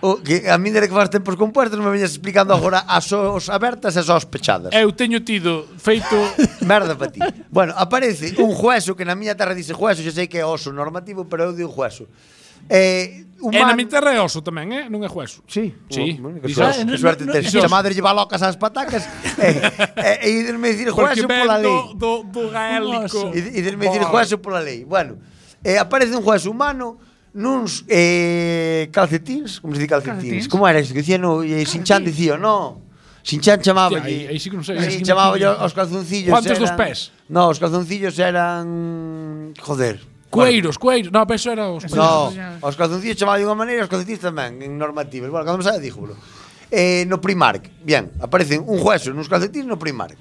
S5: O que a min desde que faz tempos compuestos non me veñas explicando agora as os abertas e as os pechadas.
S4: Eu teño tido feito
S5: Merda para ti. Bueno, aparece un jueso que na miña terra dice jueso, xa sei que é oso normativo, pero eu digo jueso. Eh,
S4: E na
S5: humán.
S4: mi terra é oso tamén, eh? Non é jueso.
S5: Sí,
S4: Sí.
S5: Bueno, que
S4: Dices-
S5: suerte,
S7: Ah, no,
S5: que suerte
S7: no,
S5: tes.
S7: no.
S5: Xa madre lleva locas ás patacas e eh, eh, eh, me dicir
S4: Porque
S5: jueso
S4: ven
S5: pola lei.
S4: do, do, do gaélico.
S7: oso.
S5: E, e desme dicir juezo pola lei. Bueno, eh, aparece un juez humano nuns eh, calcetins, como se di calcetins?
S7: Calcetins.
S5: Como era isto que dicían? No, eh, Sinchan dicía, no. Sinchan chamaba
S4: Hostia, aí- aí sí que non sei.
S5: Sí,
S4: Aí sí que
S5: chamaba
S4: non sei.
S5: os calzoncillos
S4: Guantes dos
S5: eran-
S4: pés.
S5: No, os calzoncillos eran... Joder.
S4: Cueiros, cueiros. No, pero eso era os
S5: No,
S4: peitos.
S5: os calzoncillos chamaba de unha maneira, os calcetins tamén, en normativas. Bueno, cando me sabe, díjolo. Eh, no Primark, bien, aparecen un juezo nos calcetins no Primark.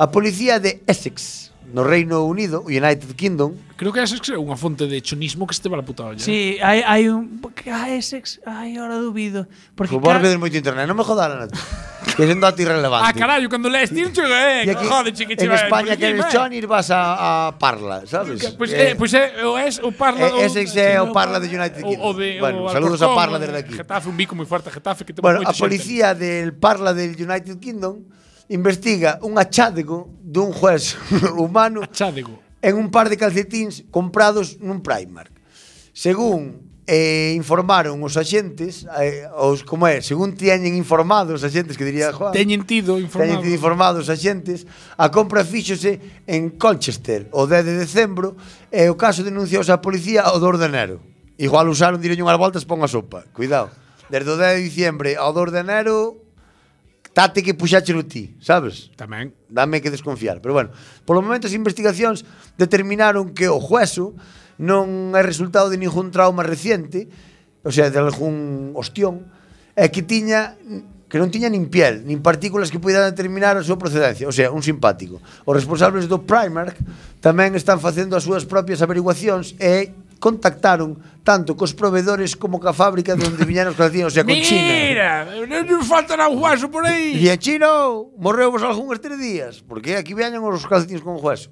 S5: A policía de Essex, no Reino Unido, United Kingdom,
S4: Creo que esa é unha fonte de chonismo que se te va a la puta olla.
S7: Sí, hai, hai un... Ah, é sex... Ai, ahora dubido. Porque
S5: Supongo que tens
S7: ca-
S5: moito internet, non me jodaran a ti. que es un dato irrelevante.
S4: Ah, carallo, cando lees ti non chega, eh.
S5: Y aquí,
S4: Jode, chique,
S5: en
S4: pues,
S5: España que eres Johnny vas a, a Parla, ¿sabes?
S4: Pois é, pois é, eh, pues, o es o parla
S5: Eh, ese é o Parla de United
S4: o, o
S5: Kingdom.
S4: de, o
S5: Bueno, saludos
S4: Alcorcón,
S5: a Parla
S4: o
S5: desde aquí.
S4: Getafe, un bico moi forte a Getafe que temos
S5: Bueno,
S4: moita
S5: a
S4: xente.
S5: policía del Parla del United Kingdom investiga un achádego dun juez humano
S4: Achádego.
S5: en un par de calcetins comprados nun Primark. Según eh, informaron os axentes, eh, os, como é, según teñen informado os axentes, que diría Juan,
S4: Teñen tido
S5: teñen
S4: informado.
S5: tido informado os axentes, a compra fíxose en Colchester o 10 de decembro e o caso denunciouse a policía o 2 de enero. Igual usaron, direño unhas voltas, pon a sopa. Cuidado. Desde o 10 de diciembre ao 2 de enero, tate que puxáchelo ti, sabes?
S4: Tamén.
S5: dame que desconfiar. Pero bueno, polo momento as investigacións determinaron que o juezo non é resultado de ningún trauma reciente, o sea, de algún ostión, e que tiña que non tiña nin piel, nin partículas que puidan determinar a súa procedencia, o sea, un simpático. Os responsables do Primark tamén están facendo as súas propias averiguacións e contactaron tanto cos proveedores como ca fábrica de onde viñeron os calcetines, o sea, con China.
S4: Mira, non nos faltará un hueso por aí.
S5: E en chino morreuvos algún estes días, porque aquí veñan os calcetins con hueso.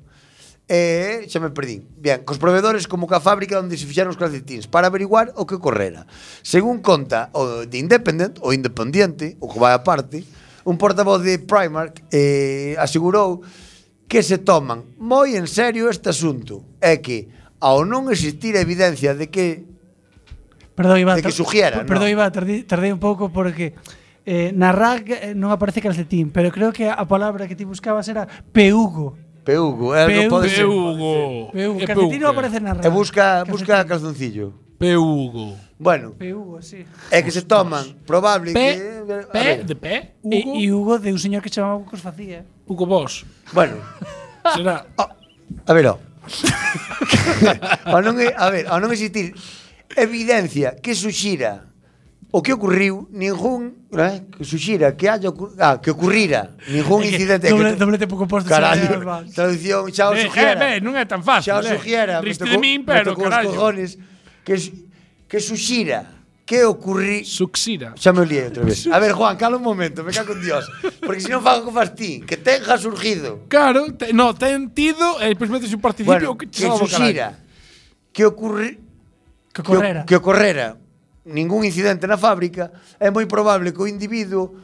S5: E xa me perdín. Bien, cos proveedores como ca fábrica onde se fixaron os calcetins para averiguar o que ocorrera. Según conta o de Independent, o Independiente, o que vai aparte, un portavoz de Primark eh, asegurou que se toman moi en serio este asunto e que ao non existir evidencia de que
S7: Perdón, Iván.
S5: De que
S7: tar-
S5: sugiera,
S7: per-
S5: ¿no?
S7: Perdón, Iván, tardé, tardé un pouco porque eh, na RAC eh, non aparece calcetín, pero creo que a palabra que ti buscabas era peugo.
S5: Peugo, eh, non
S7: Peu-
S5: pode ser.
S4: Peugo.
S7: Peugo.
S4: É
S7: Calcetín non
S4: Peugo.
S7: aparece na RAC.
S5: E busca, busca
S7: Calcetín.
S5: calzoncillo.
S4: Peugo.
S5: Bueno,
S7: Peugo, sí.
S5: É que se toman, probable
S4: Pe,
S5: que... eh, a
S4: pe,
S5: ver,
S4: de pe,
S7: E,
S4: Hugo,
S7: e Hugo de un señor que chamaba Hugo que os facía.
S4: Hugo Boss.
S5: Bueno,
S4: Será.
S5: a ver, ó. ao non, e- a ver, ao non existir evidencia que suxira o que ocurriu, ningún, eh, que suxira que haya ocur- ah, que ocurrira ningún incidente
S7: Doble,
S5: que,
S7: doblete pouco posto.
S5: carallo,
S7: señor Iván.
S5: traducción, xa o
S4: Eh, eh,
S5: suxiera.
S4: ve, non é tan fácil.
S5: xa o
S4: eh.
S5: suxiera,
S4: Riste de min, pero carallo.
S5: carallo. cojones que su- que suxira que ocurri
S4: Suxira.
S5: Xa me olía outra vez. A ver, Juan, cala un momento, me cago en Dios. Porque se non fago co fas ti, que tenja surgido.
S4: Claro, te, no, ten tido e depois metes un participio
S5: bueno,
S4: que
S5: que,
S4: te salva o carallo.
S5: suxira que ocurri que,
S7: Que correra.
S5: o- que ocorrera ningún incidente na fábrica, é moi probable que o individuo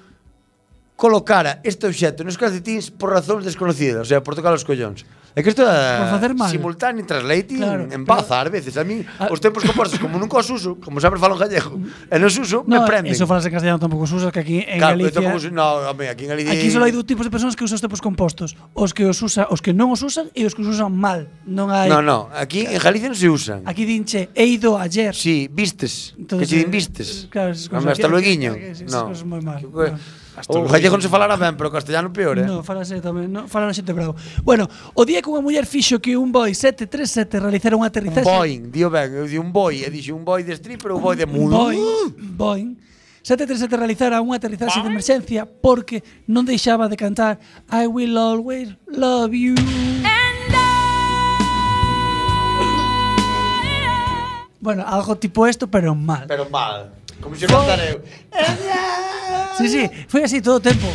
S5: colocara este obxecto nos calcetins por razóns desconocidas, o sea, por tocar os collóns. É que isto é
S7: Por facer mal.
S5: simultáneo translating claro,
S7: Claro,
S5: en baza, ás veces. A min,
S7: A-
S5: os tempos comportos, como nunca os uso, como sempre falo en gallego, e non os uso, me
S7: No,
S5: prenden.
S7: eso falas en castellano tampouco se usa, que aquí en
S5: Claro, eu
S7: Galicia...
S5: tampouco Eh. uso- no, home, aquí en Galicia...
S7: Aquí só hai dous tipos de persoas que usan os tempos compostos, os que os usa, os que non os usan e os que os usan mal. Non hai
S5: No, no, aquí en Galicia non se usan.
S7: Aquí dinche he ido ayer.
S5: Sí, vistes. que
S7: Entonces,
S5: se din
S7: eh,
S5: vistes.
S7: claro, esas cosas
S5: Home, hasta
S7: que-
S5: lueguiño.
S7: que- que- esas
S5: No.
S7: cosas moi mal.
S5: Que- que-
S7: No.
S5: Hasta O gallego non se falara ben, pero o castellano peor, eh?
S7: No, falase tamén, no, falan a xente bravo. Bueno, o día que unha muller fixo que un Boeing 737 realizara
S5: Un
S7: un aterrizaxe
S5: boing, dio ben, eu di un boi, e dixo un boi de strip, pero un boi de
S7: un
S5: mudo.
S7: Boeing, Boeing 737 realizara un aterrizaxe de emerxencia porque non deixaba de cantar I will always love you. Bueno, algo tipo esto, pero mal.
S5: Pero mal. Como se contar eu.
S7: Sí, sí, foi así todo o tempo.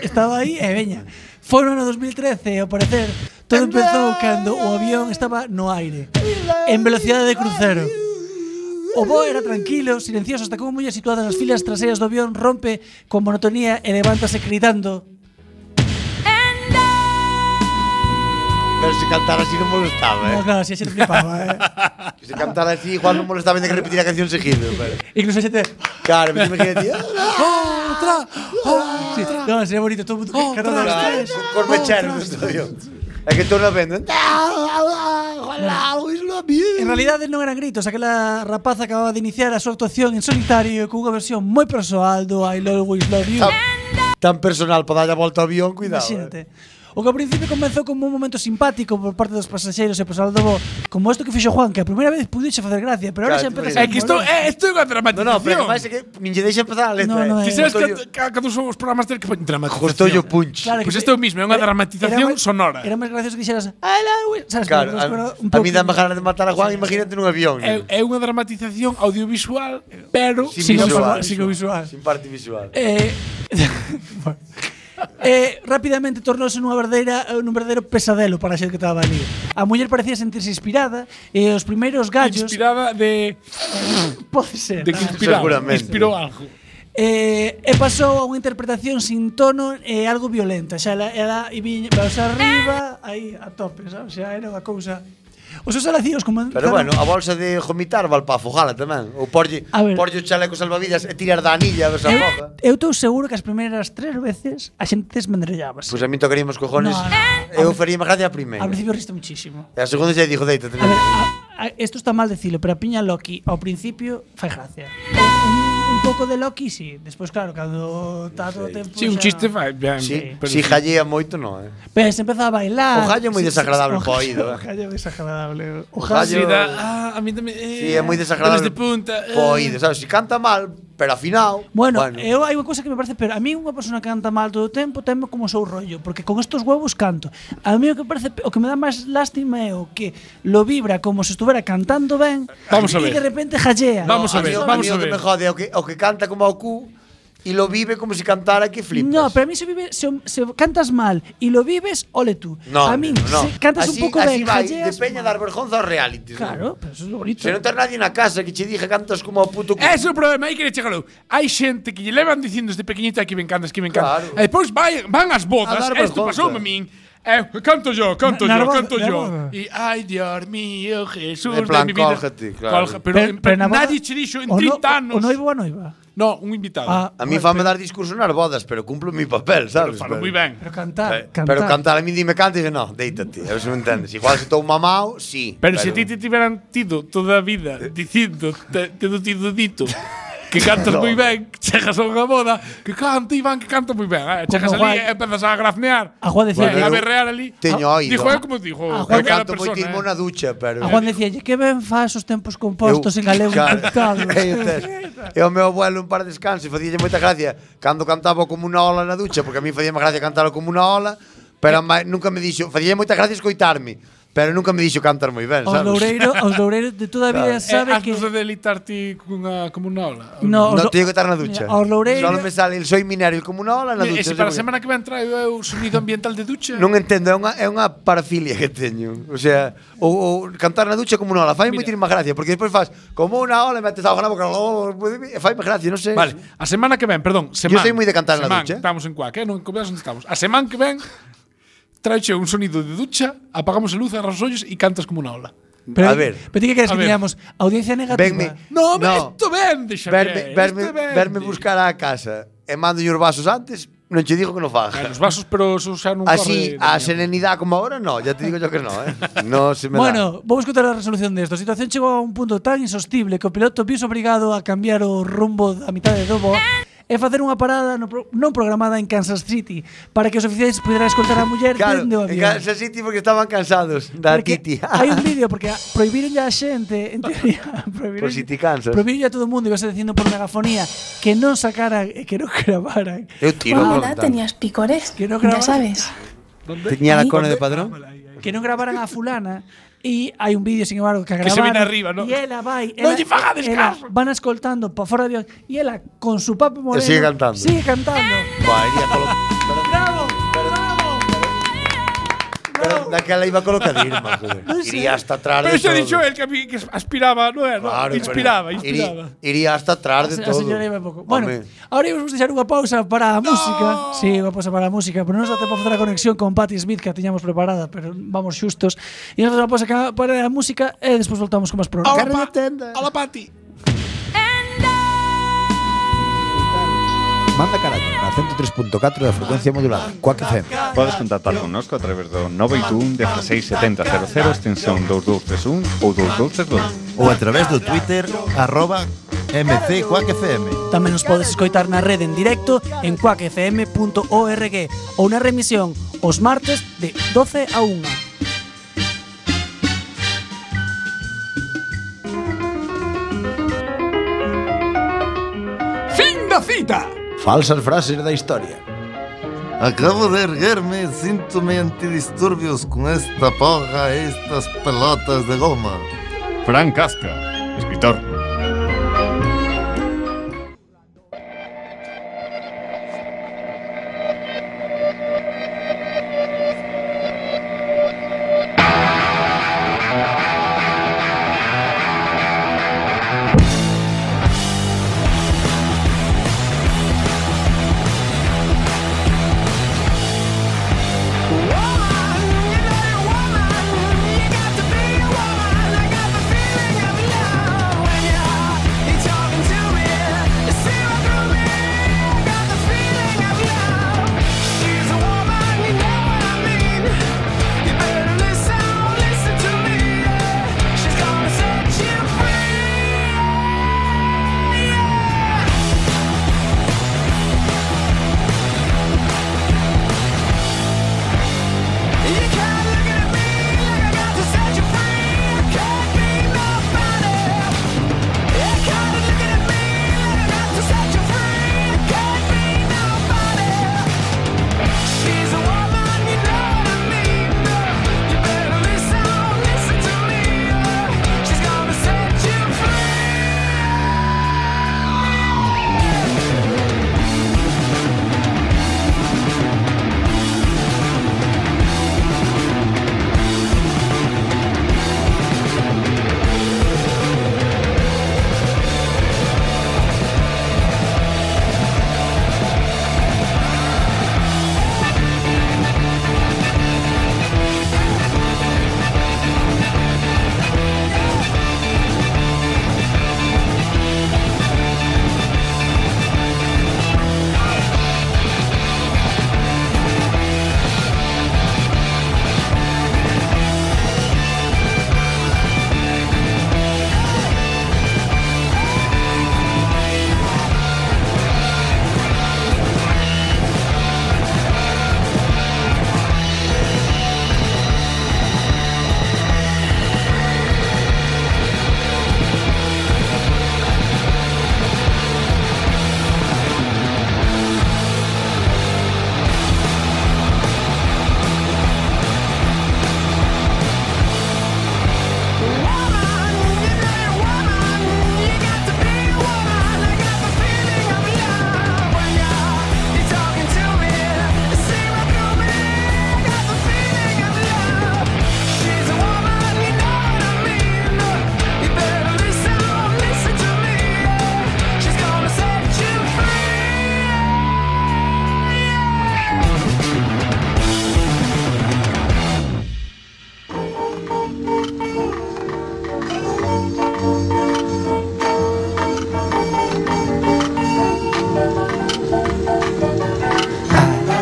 S7: Estaba aí e veña. Foi no ano 2013, ao parecer, todo empezou cando o avión estaba no aire, en velocidade de crucero. O voo era tranquilo, silencioso, hasta que unha muller situada nas filas traseiras do avión rompe con monotonía e levántase gritando
S5: Pero se cantara así non molestaba,
S7: No,
S5: eh?
S7: claro, si a xente flipaba, eh.
S5: Que se cantara así, igual non molestaba, ainda que repetir a canción seguido. Pero.
S7: Incluso a xente...
S5: Claro, me imagínate.
S7: Outra! outra". "Oh, Sí, no, sería bonito, todo o mundo...
S5: Claro,
S7: cantando os tres.
S5: Con corbecheros do estadio. É que tú non venden. "Ah, Ojalá, Luis lo
S7: En
S5: bien.
S7: realidade non eran gritos, aquela rapaza acababa de iniciar a súa actuación en solitario cunha versión moi persoal do I Always Love You.
S5: Tan personal para darlle a volta ao avión, cuidado. eh.
S7: Imagínate. O que ao principio comezou como un momento simpático por parte dos pasaxeiros e pesado do voo, como isto que fixo Juan, que a primeira vez pudiche facer gracia, pero ahora
S5: Claro, te
S7: xa empeza
S5: parece.
S4: É Eh, que estou, é, estou unha
S5: No,
S4: dramatización.
S5: no, pero máis é que nin lle deixa empezar a letra.
S7: No, no,
S5: eh.
S4: Ti sabes
S5: Gustollo-
S4: que a- cando son os programas ter que poñer dramatización.
S5: Gustollo punch.
S7: Claro,
S4: Pois
S7: que-
S4: isto é o pues mismo, é unha
S7: era-
S4: dramatización
S7: era máis-
S4: sonora.
S7: Era máis gracioso que dixeras "I love you", sabes,
S5: Claro, a,
S7: pero espero un Eh,
S5: a mí
S7: pouquinho.
S5: dame ganas de matar a Juan, imagínate nun avión. nen.
S4: É, é unha Eh, dramatización audiovisual, pero sin
S5: Sin visual.
S4: audio- sin audiovisual.
S5: Sin parte visual.
S7: Eh, bueno. eh, rapidamente tornouse nunha verdadeira eh, nun verdadeiro pesadelo para a xente que estaba ali. A muller parecía sentirse inspirada e os primeiros gallos
S4: Inspirada de,
S7: pode ser.
S4: de que inspiraba.
S5: Seguramente.
S4: Inspirou algo.
S7: Eh, e pasou a unha interpretación sin tono e algo violenta. Xa ela, ela e viña, baus arriba, aí a tope, sabes? Xa era unha cousa. Os seus alacíos como
S5: Pero bueno, a bolsa de gomitar val pa afogala tamén. Ou porlle,
S7: A ver. Eh.
S5: porlle o chaleco salvavidas e tirar da anilla a ver se afoga.
S7: Eu estou seguro que as primeiras tres veces a xente desmendrellaba.
S5: Pois a mí tocaría os cojones.
S7: No, no.
S5: Eu faría má gracia a primeira.
S7: Ao principio riste muchísimo.
S5: E a segunda xa dixo, deita,
S7: A ver, a- a- esto está mal decirlo, pero a Piña Loki ao principio fai gracia. Un, un pouco de Loki, sí. Despois, claro, cando está todo o tempo...
S4: Si, un
S7: xa-
S4: chiste fai ben,
S5: Si,
S4: pero
S5: si jallea moito, non, eh.
S7: Pero se empeza a
S5: O
S7: bailar...
S5: gallo é moi
S7: Sí, sí, sí,
S5: desagradable
S7: o
S5: pro
S7: gallo-
S5: oído, eh.
S7: O gallo é desagradable.
S5: O
S7: O gallo...
S5: gallo-
S4: Si, da, ah, a mí tamén. Eh,
S5: Si, é moi desagradable.
S4: pelos de punta. eh.
S5: Po oído, sabes, si canta mal, pero afinado.
S7: Bueno, eh, eu hai unha cousa que me parece, pero a mí unha persona que canta mal todo o tempo teme como o seu rollo, porque con estos huevos canto. A mí o que parece o que me dá máis lástima é o que lo vibra como se estuvera cantando ben
S4: Vamos a
S7: e
S4: ver.
S7: de repente jallea.
S4: Vamos a
S5: mí
S4: ver,
S5: o-
S4: vamos
S5: mí
S4: a
S5: o que
S4: ver.
S5: me jode é o que, o que canta como ao cu e lo vive como se cantara que flipas.
S7: No, pero a mí se vive, se, se cantas mal y lo vives, ole tú.
S5: No,
S7: a mí
S5: neno, no.
S7: se cantas
S5: así,
S7: un pouco
S5: así
S7: ben,
S5: vai, de
S7: jalleas,
S5: peña dar vergonza aos realities.
S7: Claro, pero eso es lo
S5: non?
S7: bonito.
S5: Se non ter nadie na casa que che diga cantas como ao puto cu.
S4: Ese é o problema, aí quere chegarou. Hai xente que lle levan dicindo desde pequeniñita que me encantas, que me encantas.
S5: Claro.
S4: E depois vai, van as bodas,
S5: A dar
S4: isto
S5: vergonza.
S4: pasoume a min. Eh, canto yo, canto
S7: Na-
S4: yo,
S7: na boda-
S4: canto
S7: na
S4: yo.
S7: boda.
S4: E ai, Dios mío, Jesús
S5: En plan,
S4: de mi vida.
S5: cógete, claro.
S4: Colga- pero, en plan,
S7: na boda-
S4: nadie che dixo en
S7: o no-
S4: 30 anos.
S7: O noivo a noiva.
S4: no, un invitado.
S7: Ah,
S5: A mí fame dar discurso nas bodas, pero cumplo o mi papel, sabes?
S4: Falo moi ben.
S7: pero cantar,
S5: Eh,
S7: cantar.
S5: Pero cantar a mí dime canta e dice, no, déitate, a ver se me entendes. Igual se estou mamao, sí.
S4: Pero se ti te tiveran tido toda a vida
S5: Eh.
S4: dicindo, te, tedo tido dito que cantas moi ben, chegas a unha boda, que canta Iván, que canta moi ben. Eh, chegas
S7: Como
S4: ali e
S7: Juan.
S4: empezas a grafnear.
S7: A Juan decía
S4: eh, a
S5: Bueno, eu
S4: berrear ali.
S5: teño
S4: Ah,
S5: oído.
S4: Dijo é como dijo.
S7: A
S5: Eu
S7: Juan
S4: calquera
S5: canto moi
S4: persona,
S5: timo
S4: eh.
S5: na ducha, pero...
S7: a Juan decía, que ben fas os tempos compostos en galego
S5: Claro.
S7: cantado.
S5: É o test. E o meu abuelo un par de descanso e facíalle moita gracia cando cantaba como unha ola na ducha, porque a mí facíame gracia cantalo como unha ola,
S7: Eh.
S5: pero mai, nunca me dixo, facíalle moita gracia escoitarme, pero nunca me dixo cantar moi ben,
S7: Os
S5: sabes?
S7: loureiro, os loureiro de toda a vida
S4: Eh,
S7: sabe
S4: has
S7: que
S4: de delitar ti cunha, como unha ola.
S7: No,
S5: Non
S7: os-
S5: teño que estar na ducha.
S7: Mira, os loureiros-
S5: Solo me sale el soy minario como unha ola na
S4: E se
S5: ducha.
S4: para a
S5: non sei por qué.
S4: semana que ven traio eu o sonido ambiental de ducha.
S5: Non entendo, é unha, é unha parafilia que teño. O sea, ou, ou cantar na ducha como unha ola. Fai
S4: Mira.
S5: moita má gracia, porque despois fas como unha ola e metes a boca na boca. Fai má gracia, non sei.
S4: Vale, a semana que ven, perdón, semana.
S5: soy moi de cantar na
S4: semana,
S5: ducha.
S4: Estamos en cuac, eh, non comidas onde estamos. A semana que ven traiche un sonido de ducha, apagamos a luz, cerras os ollos e cantas como unha ola.
S7: Pero,
S5: a ver.
S7: Pero ti que queres
S4: A
S7: que
S4: ver.
S7: teñamos audiencia negativa.
S5: Venme-
S4: No, no.
S5: No.
S4: esto vende, Xavier.
S5: verme, verme,
S4: isto vende.
S5: verme buscar á casa e mando os vasos antes, non che digo que
S4: Eh,
S5: non faja.
S4: Os vasos, pero eso xa non
S5: Así,
S4: corre.
S5: a serenidade como ahora, no, ya te digo yo que no, eh. No se me da.
S7: Bueno, vamos contar a resolución desto. A situación chegou a un punto tan insostible que o piloto viuse obrigado a cambiar o rumbo da mitade do voo e facer unha parada no pro non programada en Kansas City para que os oficiais puderan escoltar a muller
S5: Claro,
S7: dende o
S5: en
S7: avión.
S5: Kansas City porque estaban cansados da
S7: Porque
S5: Titi.
S7: hai un vídeo porque a- prohibiron ya a xente, en teoría, prohibiron,
S5: Por si ti cansas.
S7: prohibiron ya a todo o mundo, ibas dicindo por megafonía, que non sacaran e que non grabaran.
S5: Eu tiro por
S8: Ahora tenías picores.
S7: Que no
S8: ya
S7: grababa.
S8: sabes.
S5: Teñía la cone de padrón.
S7: que non gravaran a fulana e hai un vídeo, sin embargo, que a
S4: Que se
S7: gravar
S4: viene arriba, ¿no?
S7: E ela vai,
S4: Non
S7: ela-
S4: lle fagades
S7: ela
S4: caso.
S7: Van escoltando pa fora de avión e ela con su papo moreno
S5: sigue cantando.
S7: Sigue cantando.
S5: Buah, iría colo... pero-
S7: Bravo, bravo.
S5: Pero daquela iba colocadín, joder. Iría hasta atrás
S4: Pero
S5: de
S4: xa
S5: todo.
S4: dixo el que, a mí- que aspiraba, non era?
S5: Claro,
S4: inspiraba,
S5: pero-
S4: inspiraba.
S5: Iría, iría hasta atrás de
S7: A- a
S5: todo.
S7: señora iba pouco. Bueno,
S5: Home.
S7: ahora íbamos a deixar unha pausa para a música. Sí, unha pausa para a música, pero non nos dá tempo a facer a conexión con Patti Smith que a tiñamos preparada, pero vamos xustos. E nos dá unha pausa ca- para a música e despois voltamos con máis programas.
S4: Hola, pa Hola, Pati.
S6: Manda carallo a 103.4 da frecuencia modulada. Coac FM.
S10: Podes contactar connosco a través do 921 16 70 00 extensión 2231 ou 2232.
S11: ou a través do Twitter arroba mcquackfm.
S7: Tamén nos podes escoitar na rede en directo en cuacfm.org ou na remisión os martes de 12 a 1.
S8: Fin da cita.
S6: Falsas frases da historia.
S11: Acabo de erguerme, síntome antidisturbios con esta porra, estas pelotas de goma.
S10: Frank Casca, escritor.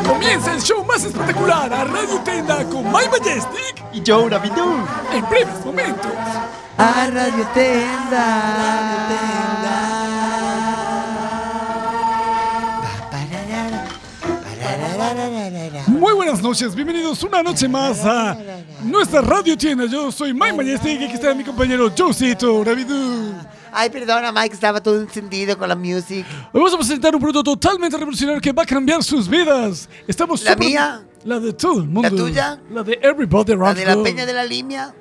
S8: Comienza el show más espectacular a Radio Tenda con My Majestic
S11: Y yo una bidú.
S8: en breves momentos.
S7: A Radio
S8: Muy buenas noches, bienvenidos una noche más a nuestra radio tienda. Yo soy My Majestic y aquí está mi compañero Josito Rabidu.
S5: Ay, perdona, Mike, estaba todo encendido con la music.
S8: Hoy vamos a presentar un producto totalmente revolucionario que va a cambiar sus vidas. Estamos
S5: ¿La
S8: súper-
S5: mía?
S8: La de todo el mundo.
S5: tuya?
S8: La de Everybody
S5: La
S8: Rock.
S5: de la peña de la limia.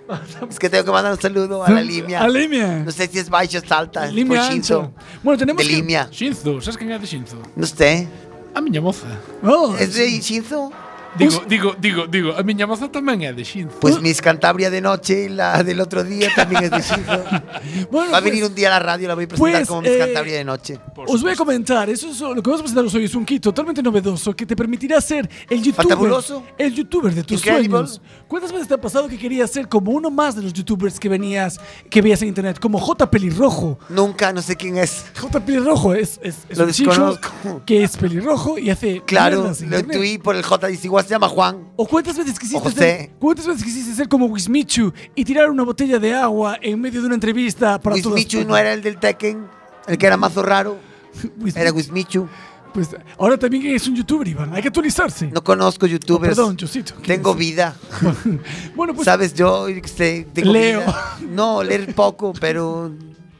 S5: Es que tengo que mandar un saludo a la limia.
S8: A Limia.
S5: No sé si es baixa, salta,
S8: Limia ancha. Bueno, tenemos
S5: De
S8: que-
S5: limia.
S4: Shinzo, sabes quen é de Shinzo?
S5: No sé.
S4: A miña moza.
S8: Oh,
S5: ¿Es de Shinzo?
S4: Digo, digo, digo, digo, a miña moza tamén é de Shinzo.
S8: Oh.
S5: Pues Miss Cantabria de noche y la del otro día también es de Shinzo.
S8: bueno,
S5: Va a
S8: pues,
S5: venir un día a la radio, la voy a presentar
S8: Pues,
S5: como Miss
S8: eh,
S5: Cantabria de noche.
S8: Os voy a comentar, eso es lo que vamos a presentaros hoy es un kit totalmente novedoso que te permitirá ser el youtuber,
S5: Fantabuloso.
S8: el youtuber de tus
S5: Incredible.
S8: sueños. ¿Cuántas veces te ha pasado que querías ser como uno más de los youtubers que venías, que veías en internet, como J Pelirrojo?
S5: Nunca, no sé quién es.
S8: J Pelirrojo es, es, es
S5: Lo
S8: un chico
S5: desconozco.
S8: que es pelirrojo y hace
S5: Claro,
S8: mierdas en
S5: lo
S8: internet.
S5: intuí por el J. Dice, igual se llama Juan.
S8: ¿O cuántas veces quisiste
S5: Ojo,
S8: ser,
S5: sé.
S8: cuántas veces quisiste ser como Wismichu y tirar una botella de agua en medio de una entrevista para todas
S5: Wismichu no
S8: partes?
S5: era el del Tekken, el que era mazo raro.
S8: Wismichu.
S5: Era Wismichu.
S7: Pues ahora también es un youtuber, Iván. Hay que actualizarse. Oh,
S5: No conozco youtubers.
S7: perdón, Chusito.
S5: Tengo vida.
S7: Bueno, pues
S5: ¿Sabes? Yo yo qué sé, tengo
S7: Leo.
S5: vida. No, leer poco, pero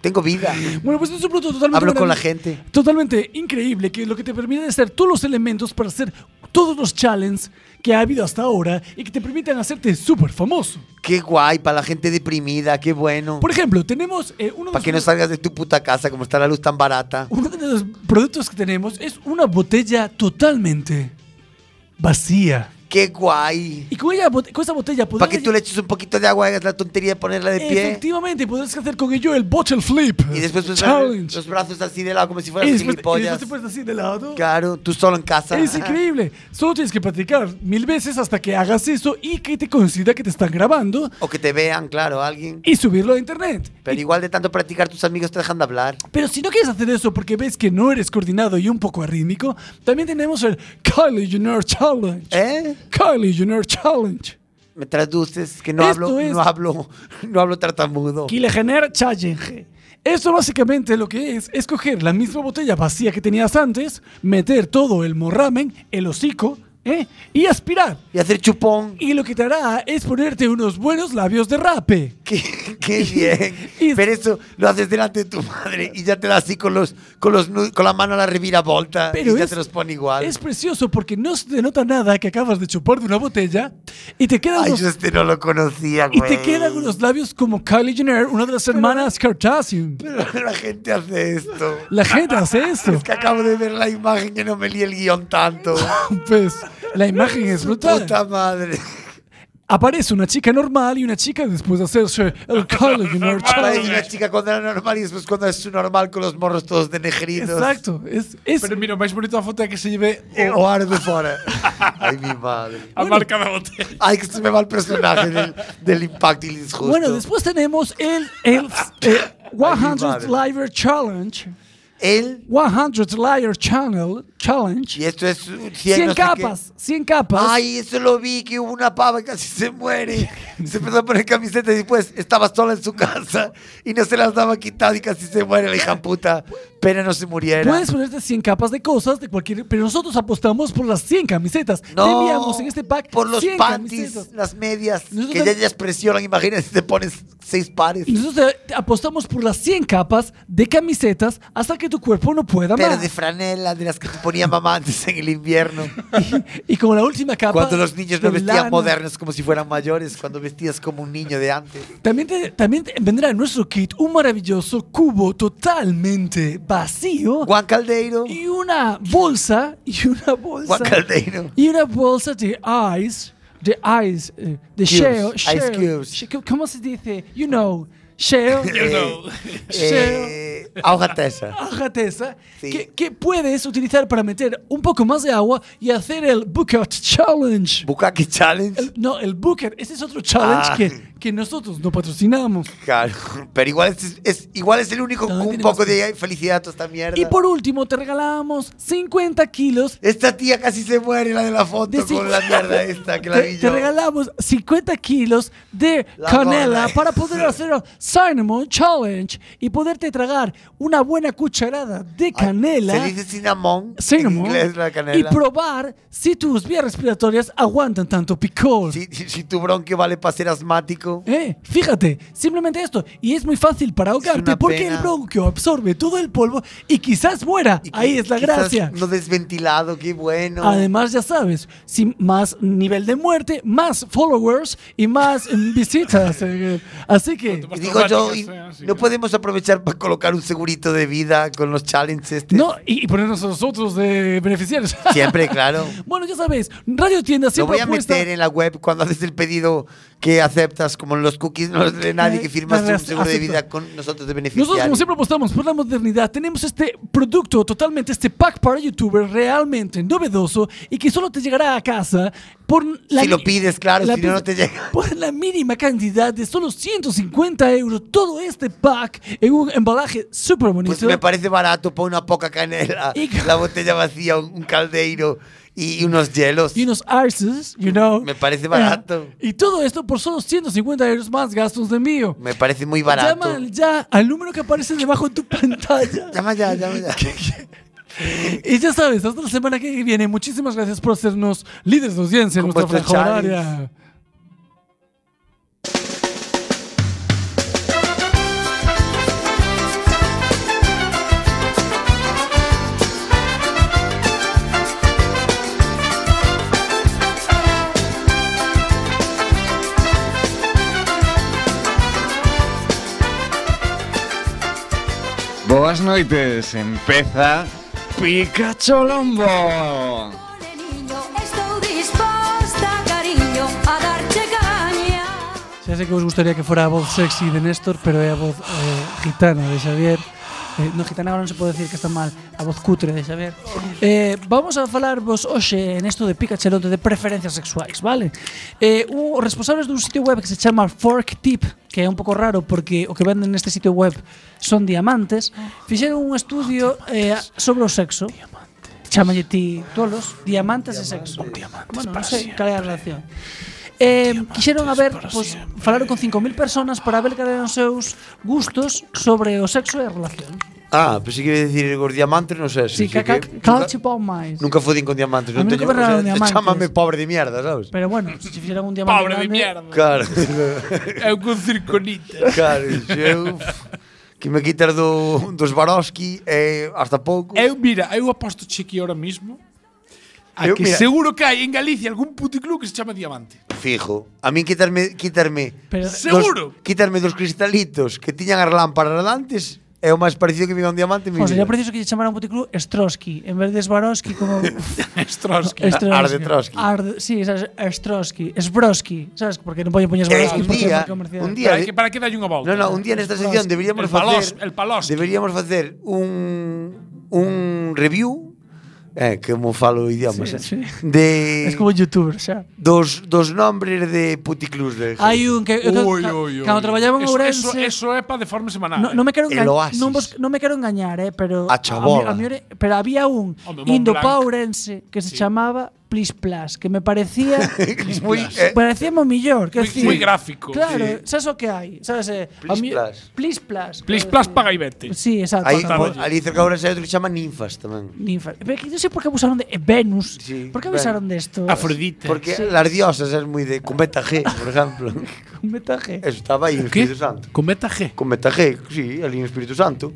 S5: tengo vida.
S7: Bueno, pues es un producto totalmente.
S5: Hablo con
S7: marav-
S5: la gente.
S7: Totalmente increíble, que lo que te permite es hacer todos los elementos para hacer todos los challenges que ha habido hasta ahora y que te permiten hacerte súper famoso.
S5: Qué guay, para la gente deprimida, qué bueno.
S7: Por ejemplo, tenemos eh, uno, de
S5: Para
S7: los-
S5: que no salgas de tu puta casa, como está la luz tan barata.
S7: uno de los productos que tenemos es una botella totalmente vacía.
S5: Qué guay.
S7: Y con, ella, bot- con esa botella podrás.
S5: Para que tú le eches un poquito de agua, hagas la tontería de ponerla de pie.
S7: Efectivamente, podrás hacer con ello el bottle flip.
S5: Y después pues,
S7: challenge.
S5: los brazos así de lado, como si
S7: y,
S5: fueras
S7: después, y después
S5: gilipollas.
S7: te puedes así de lado.
S5: Claro, tú solo en casa.
S7: Es increíble. Solo tienes que practicar mil veces hasta que hagas eso y que te considera que te están grabando
S5: O que te vean, claro, alguien.
S7: y subirlo a internet.
S5: Pero igual de tanto practicar, tus amigos te dejan de hablar.
S7: Pero si no quieres hacer eso porque ves que no eres coordinado y un poco arrítmico, también tenemos el Kylie Jenner Challenge.
S5: ¿Eh?
S7: Kylie Jenner Challenge.
S5: Me traduces que no
S7: Esto
S5: hablo,
S7: es-
S5: no hablo, no hablo tartamudo.
S7: Kylie Jenner Challenge. Eso básicamente lo que es es coger la misma botella vacía que tenías antes, meter todo el morramen, el hocico, ¿eh? y aspirar.
S5: Y hacer chupón.
S7: Y lo que te hará es ponerte unos buenos labios de rape.
S5: Qué, qué bien.
S7: Y-
S5: Pero eso lo haces delante de tu madre y ya te da así con los, con los nu- con la mano a la reviravolta
S7: Pero
S5: y ya
S7: es-
S5: te los pone igual.
S7: Es precioso porque no se te nota nada que acabas de chupar de una botella y te quedan,
S5: Ay,
S7: unos,
S5: yo este no lo conocía,
S7: y
S5: güey.
S7: te quedan unos labios como Kylie Jenner, una de las hermanas Kardashian.
S5: Pero la gente hace esto.
S7: La gente hace esto.
S5: Es que acabo de ver la imagen que no me lié el guión tanto.
S7: Pues la imagen es brutal.
S5: Puta madre.
S7: Aparece una chica normal y una chica después de hacerse el Kylie Jenner
S5: Hay una
S7: Challenge.
S5: chica cuando era normal y después cuando es su normal con los morros todos denegridos.
S7: Exacto. Es, es-
S4: Pero mira, máis bonito a foto é que se lleve
S5: Eh, O ar de fora. Ay, mi madre.
S4: a marca da botella.
S5: Ay, que se me va el personaje del, del impacto y el injusto.
S7: bueno, después tenemos el, el, eh, 100 Liver Challenge.
S5: Él,
S7: 100 Liver Channel Challenge.
S5: y esto es un 100,
S7: 100
S5: no sé qué.
S7: capas, 100 capas.
S5: Ay, eso lo vi, que hubo una pava que casi se muere. Se empezó a poner camiseta y después estaba sola en su casa y no se las daba quitado y casi se muere la hija puta. Pero no se muriera.
S7: Puedes ponerte 100 capas de cosas, de cualquier. Pero nosotros apostamos por las 100 camisetas. Te enviamos en este pack
S5: por los
S7: 100
S5: panties,
S7: camisetas.
S5: las medias,
S7: Nosotros
S5: que ya
S7: tam-
S5: ellas presionan, imagínate, te pones seis pares.
S7: Y nosotros te- te apostamos por las 100 capas de camisetas hasta que tu cuerpo no pueda
S5: Pero
S7: más.
S5: de franela, de las que te ponía mamá antes en el invierno.
S7: y con la última capa.
S5: Cuando los niños no
S7: de
S5: vestían
S7: lana.
S5: modernos como si fueran mayores, cuando vestías como un niño de antes.
S7: También, te- también te- vendrá en nuestro kit un maravilloso cubo totalmente vacío.
S5: Juan Caldeiro.
S7: Y una bolsa. Y una bolsa.
S5: Juan Caldeiro.
S7: Y una bolsa de ice, de ice, eh, de shell,
S5: ice
S7: shell,
S5: cubes.
S7: she- co- ¿Cómo se dice? You know, shell,
S5: Eh, ahógate esa.
S7: Ájate esa,
S5: Sí.
S7: que, que puedes utilizar para meter un poco más de agua y hacer el bucket challenge.
S5: Bukaki Challenge.
S7: El- no, el bucket, ese es otro challenge
S5: Ah.
S7: que, que nosotros no patrocinamos.
S5: Claro. Pero igual es, es- igual es el único con
S7: También
S5: un
S7: tiene
S5: poco
S7: más que-
S5: de felicidad a toda esta mierda.
S7: Y por último, te regalamos 50 kilos.
S5: Esta tía casi se muere, la de la foto,
S7: De
S5: con
S7: cincu-
S5: la mierda esta que la
S7: Te,
S5: vi
S7: te
S5: yo.
S7: regalamos 50 kilos de
S5: La
S7: canela
S5: gorda.
S7: para poder hacer el Cinnamon Challenge y poderte tragar una buena cucharada de
S5: Ay,
S7: canela.
S5: Se dice cinnamon. En
S7: cinnamon,
S5: inglés la
S7: y
S5: canela.
S7: probar si tus vías respiratorias aguantan tanto picor.
S5: Si, si tu bronquio vale para ser asmático.
S7: Eh, Fíjate, simplemente esto. Y es muy fácil para ahogarte
S5: una
S7: porque
S5: pena.
S7: el bronquio absorbe todo el polvo y quizás muera.
S5: y
S7: Ahí
S5: que-
S7: es la
S5: quizás
S7: gracia.
S5: No desventilado, qué bueno.
S7: Además, ya sabes, sin más nivel de muerte, más followers y más mm, visitas. eh, Así que
S5: Y digo yo,
S4: Automáticas,
S5: y
S4: eh, así
S5: no
S4: que-
S5: podemos aprovechar para colocar un segurito de vida con los challenges. este. estos?
S7: No, y, y ponernos a nosotros de beneficiarios.
S5: Siempre, claro.
S7: bueno, ya sabes, Radio Tienda
S5: Lo
S7: siempre
S5: voy a
S7: apuesta-
S5: meter en la web cuando haces el pedido que aceptas, como en los cookies, no los lee nadie, que firmas
S7: Dale,
S5: un seguro de
S7: Eh, acepto.
S5: vida con nosotros de
S7: Nosotros, como
S5: beneficiarios.
S7: siempre, apostamos por la modernidad. Tenemos este producto totalmente, este pack para youtubers realmente novedoso y que solo te llegará a casa por la.
S5: Si lo
S7: mi-
S5: pides, claro, si no, no te llega.
S7: Por la mínima cantidad de solo 150 euros, todo este pack en un embalaje súper bonito.
S5: Pues me parece barato para una poca canela,
S7: Y-
S5: la botella vacía, un un caldeiro y unos hielos.
S7: y unos arses, you know.
S5: Me parece barato.
S7: Eh, y todo esto por solo 150 euros más gastos de envío.
S5: Me parece muy barato.
S7: Llama ya al número que aparece debajo de tu pantalla.
S5: Llama ya, llama ya.
S7: Y ya sabes, hasta la semana que viene. Muchísimas gracias por hacernos líderes de audiencia en
S6: Como
S7: nuestra franja
S6: chacharis.
S7: horaria.
S10: Boas noites, empeza Pikachu Lombo.
S12: Estou disposta, cariño, a darche caña.
S7: Ya sé que os gustaría que fuera a voz sexy de Néstor, pero é a voz eh, gitana de Xavier. Eh, no, gitana ahora non se pode decir que está mal. A voz cutre de Xavier. Eh, vamos a falar vos hoxe en esto de Picachelote de preferencias sexuais, vale? Eh, un, os responsables dun sitio web que se chama Fork Tip, que é un pouco raro porque o que venden neste sitio web son diamantes, fixeron un estudio eh, sobre o sexo. Chámalle ti tolos, diamantes e sexo. Bueno, non sei cal é a relación. Eh, quixeron a ver, pois, falaron con 5.000 personas para ver cal eran os seus gustos sobre o sexo e a relación.
S5: Ah, pensei que iba a decir os diamantes, non sei.
S7: Si, sí,
S5: que,
S7: que, que,
S5: nunca-
S7: cal chupou máis.
S5: Nunca fodín con diamantes, non
S7: A mí
S5: teño.
S7: nunca me
S5: o
S7: regalaron
S5: sea,
S7: diamantes.
S5: Chámame pobre de mierda, sabes?
S7: Pero bueno, se che fixeran un diamante
S4: Pobre de
S7: grande,
S4: mierda.
S5: Claro,
S4: É un circonita.
S5: claro, eu que me quitas do, dos Baroski eh, hasta pouco.
S4: Eu, mira, eu aposto cheque ahora mismo a
S5: Eu,
S4: que
S5: mira-
S4: seguro que hai en Galicia algún puticlub que se chama Diamante.
S5: Fijo. A min quitarme, quitarme
S7: Pero,
S4: Seguro.
S5: Dos, quitarme dos cristalitos que tiñan as lámparas antes é o máis parecido que me a un diamante en mi
S7: o
S5: vida.
S7: sería preciso que lle chamaran un puticlub Strosky, en vez de Swarovski como...
S4: Estrosky.
S7: Strosky.
S5: Arde Trotsky.
S7: Arde, sí, sabes, Strosky, Sbrosky, sabes? Porque non poñen poñer
S5: Eh, un
S7: Swarovski porque é
S5: día,
S7: marca comercial.
S5: un día, eh?
S4: Para que, para que dalle unha volta.
S5: No, no, un día nesta sección
S4: El
S5: deberíamos
S4: palos-
S5: facer
S4: el palosqui.
S5: Deberíamos facer un un review eh, que mo falo idiomas
S7: Sí,
S5: eh,
S7: sí.
S5: de
S7: Es como un youtuber, xa.
S5: dos dos nombres de puticlus de
S7: Hai un que, que
S4: Ui,
S7: ca-
S4: ui, ui.
S7: cando traballaba en
S4: Eso-
S7: Ourense,
S4: Eso, eso é para deforme semanal.
S7: No, non me quero
S5: El
S7: engañar,
S5: Oasis.
S7: non, vos, non me quero engañar, eh, pero
S5: A chabola.
S7: mi- mi- pero había un
S4: Hombre, Mont
S7: indo
S4: Blanc.
S7: pa Ourense que se chamaba Plis Plas, que me parecía
S5: moi eh,
S7: parecíamos mellor, que
S4: Muy-
S7: decir,
S4: muy gráfico,
S7: Claro,
S5: sí.
S7: sabes o que hai, sabes eh, a
S5: Plis
S7: mi-
S5: Plas.
S7: Plis Plas.
S4: Plis
S7: quero
S4: plas
S7: decir.
S4: paga y vete.
S7: Sí, exacto.
S5: aí
S7: paga
S5: mo-
S7: y vete.
S5: ali cerca ahora hai outro que se chama ninfas tamén.
S7: Ninfa. Pero que non sei por que abusaron de eh, Venus.
S5: Sí,
S7: por que abusaron de esto?
S4: Afrodita.
S5: Porque las diosas es muy de cometa G, por ejemplo.
S7: Un metaje.
S5: Eso estaba ahí en Espíritu Santo.
S4: Cometa G. Ah,
S5: Cometa G, sí, ali en Espíritu Santo.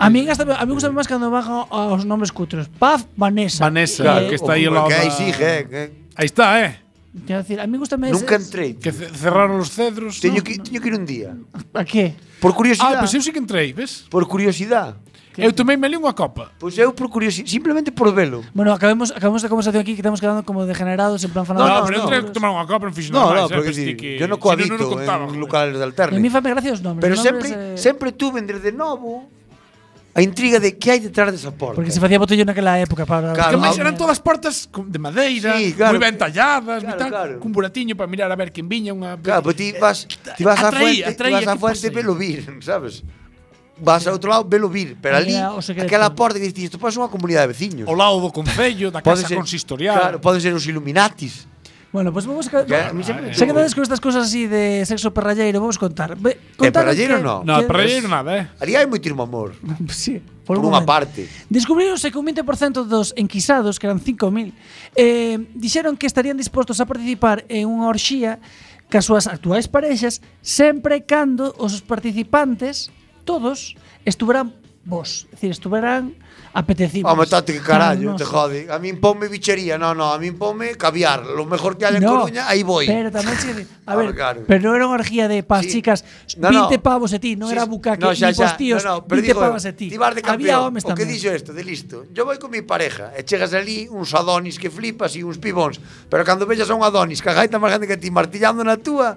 S7: A mí gasta, a mí gustame máis cando bajan aos nomes cutros. Paz Vanessa.
S4: Vanessa, que
S7: Eh,
S4: está aí
S5: O
S4: logo.
S5: Que aí sí, G, que-
S4: Ahí está, eh.
S7: Quero decir, a mí gustame ese-
S5: Nunca entrei.
S4: Que ce- cerraron los cedros. ¿no?
S5: Teño que, teño que ir un día.
S7: A que?
S5: Por
S4: Ah,
S5: curiosidade.
S4: pues eu sí que entrei, ves?
S5: Por curiosidade.
S4: Eu tomei me unha copa.
S5: Pois eu por curiosidade, simplemente por velo.
S7: Bueno, acabemos, acabamos la conversación aquí que estamos quedando como degenerados en plan
S4: No,
S7: fanado.
S5: no,
S4: Ah, pero eu
S5: no.
S4: entrei a tomar unha copa, non fixo
S5: No,
S4: nada
S5: no,
S4: máis, eh,
S5: porque
S4: pensei
S5: sí,
S4: que-
S5: yo
S4: si non,
S5: no
S4: non
S5: cohabito
S4: contaba,
S5: en
S4: joder.
S5: locales de
S7: Y a mí
S5: alterne.
S7: fame gracia os nombres.
S5: Pero
S7: os nombres,
S5: sempre,
S7: eh,
S5: sempre tuve desde novo a intriga de que hai detrás desa porta.
S7: Porque se facía botellón naquela época para...
S4: Que
S5: Claro,
S4: máis
S5: Ah,
S4: eran todas portas con- de madeira,
S5: Sí, claro.
S4: moi ben talladas, claro,
S5: Claro,
S4: tal,
S5: claro.
S4: cun buratiño para mirar a ver quen viña unha
S5: Claro, pues ti vas, ti vas a
S4: Atraía,
S5: fuente, ti
S4: atraía,
S5: vas a
S4: ¿qué
S5: fuente
S4: pasa ahí?
S5: velo vir, sabes? Vas a outro lado velo vir, pero ali
S7: Era o secreto.
S5: aquela porta que dices, isto pasa unha comunidade de veciños.
S4: ao lado do concello, da
S5: Pode
S4: casa consistorial.
S5: Claro, poden ser os Illuminatis.
S7: Bueno, pues vamos a...
S5: Que a mí sempre-
S7: Xa que andades con estas cosas así de sexo perralleiro, vamos contar. Ve, contaron
S5: perralleiro
S7: que-
S5: no.
S4: No,
S7: que-
S4: para ir nada, eh.
S5: Ali hai moitísimo amor,
S7: sí,
S5: por,
S7: un
S5: unha
S7: momento.
S5: parte.
S7: Descubrironse que un 20% dos enquisados, que eran 5.000, eh, dixeron que estarían dispostos a participar en unha orxía cas súas actuais parexas sempre e cando os participantes, todos, estuveran vos. É dicir, estuveran apetecibles.
S5: Home, tate que carallo,
S7: Claro,
S5: te
S7: nos.
S5: jode. A min ponme bichería, no, no, a min ponme caviar. Lo mejor que haya en Coruña, aí voy.
S7: Pero tamén che di- a
S5: Ah,
S7: ver,
S5: claro.
S7: pero non era unha orgía de pas
S5: Sí.
S7: chicas, 20
S5: No, no.
S7: pavos e ti, non
S5: Sí,
S7: era
S5: sí.
S7: bucaque,
S5: No, xa,
S7: ni
S5: xa.
S7: postíos,
S5: No, no, pero
S7: 20
S5: digo eu,
S7: pavos e ti.
S5: ti vas de campeón.
S7: Había homes
S5: o que
S7: tamén.
S5: dixo isto, de listo. Yo voy con mi pareja e chegas ali uns adonis que flipas e uns pibóns. Pero cando vellas a un adonis que a gaita máis grande que ti martillando na túa,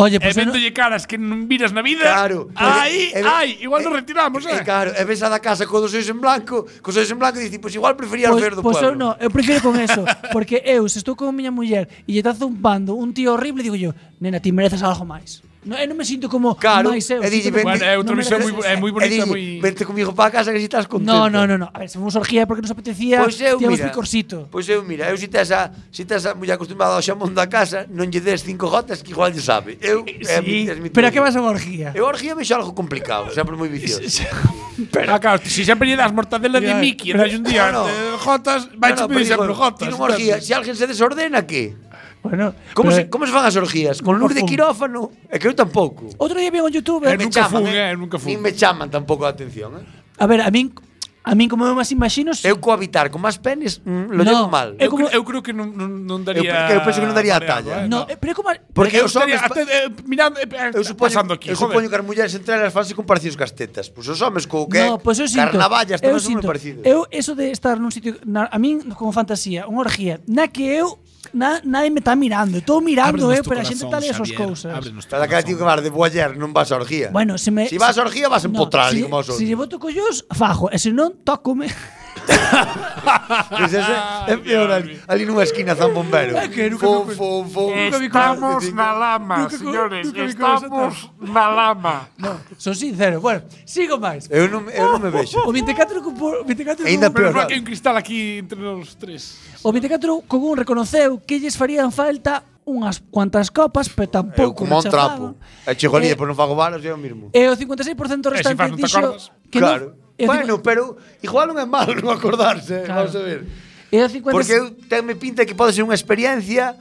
S7: Oye,
S4: E
S7: pues eu non-
S4: vendolle caras que non viras na vida.
S5: claro. eh,
S4: Aí,
S5: e- e-
S4: ai, igual
S5: e-
S4: nos retiramos,
S5: e-
S4: eh.
S5: E claro, e ves a da casa co dos seis en blanco, co seis en blanco e dices, pois igual prefería o
S7: Pois-
S5: verde do
S7: pois eu
S5: pueblo.
S7: non, eu prefiro con eso, porque eu se estou con miña muller e lle tazo un bando, un tío horrible, digo yo, nena, ti mereces algo máis. No, eu non me sinto como
S5: Claro,
S7: máis eu.
S5: e dille,
S7: sinto como-
S5: "Vente". Bueno, é outra
S7: non me
S5: visión
S7: merece-
S5: moi- é moi E bonita, dille, moi- "Vente comigo para casa que si estás contento".
S7: No, no, no, no. A ver, se fomos orgía é porque nos apetecía,
S5: Pois eu,
S7: tiamos
S5: mira,
S7: picorcito.
S5: Pois eu, mira, eu si tes a, si tes a muller acostumada ao xamón da casa, non lle des cinco gotas que igual lle sabe. Eu, é a mi-
S7: Sí,
S5: eh, es mi
S7: pero
S5: teoría.
S7: a que vas a unha orgía?
S5: Eu a orgía vexo algo complicado, sempre moi vicioso.
S4: Pero, ah, claro, si sempre lle das mortadela de
S5: Ya,
S4: Mickey, non
S5: pero-
S4: hai un día
S5: No, no.
S4: eh, Jotas, vai
S5: No,
S4: no,
S5: no,
S4: pedir
S5: pero
S4: sempre
S5: digo,
S4: Jotas.
S5: Tiene unha orgía, se alguén se desordena, que?
S7: Bueno,
S5: como
S7: pero-
S5: se, como se fan as orgías? Con luz de
S7: fun.
S5: quirófano? É que eu tampouco.
S7: Outro día vi en YouTube,
S5: Nin me chaman, eh, Nin me chaman tampouco a atención, eh.
S7: A ver, a min a min como eu máis imagino
S5: Eu cohabitar con máis penes, mm, lo
S7: No,
S5: llevo mal.
S7: eu como-
S4: Eu creo que non, non, non
S5: Eu,
S4: daría...
S5: eu penso que non daría a talla.
S7: No, eh, pero é como
S5: Porque
S4: eu
S5: os homes
S4: estaría até, eh, mirando, eh,
S5: Eu supoño,
S4: pasando aquí,
S5: eu
S4: joder.
S5: supoño que as mulleres entre elas fanse comparacións cas tetas. Pois os homes co que
S7: No, pois eu sinto.
S5: carnavallas
S7: eu
S5: tamén son moi
S7: sinto.
S5: parecidos.
S7: Eu eso de estar nun sitio na, a min como fantasía, unha orgía, na que eu na, nadie me está mirando, estou mirando eu, pero a xente está as súas cousas.
S5: Para que tío que vas de boyer, non vas a orgía.
S7: Bueno, se me
S5: Si vas a orgía vas a empotrar,
S7: si,
S5: como os
S7: Si
S5: outros.
S7: lle boto collos, fajo, e se non tócome.
S5: Pois ese é peor ali, ali nunha esquina zan bombero.
S7: É que nunca-
S5: Fo, fo, fo.
S13: lama,
S7: Nunca co- nunca vi cosas
S13: na lama.
S7: No, son sincero. Bueno, sigo máis.
S5: Eu non, eu non me vexo.
S7: O 24 con por- o 24
S5: Ainda
S7: con-
S5: peor.
S4: Hai un cristal aquí entre os tres.
S7: O 24 con un reconoceu que lles farían falta unhas cuantas copas, pero
S5: Eu
S7: tampouco
S5: como un
S7: rechazaban.
S5: trapo. E chego ali,
S7: Eh,
S5: e pois non fago varas, é o mismo.
S7: E o 56%
S5: Eh, se
S7: restante
S5: faz, non te
S7: dixo
S5: acordas?
S7: que
S5: Claro.
S7: non. E o
S5: Bueno, pero igual non é malo non acordarse,
S7: Claro.
S5: vamos a ver.
S7: E o 50
S5: Porque eu tenme pinta que pode ser unha experiencia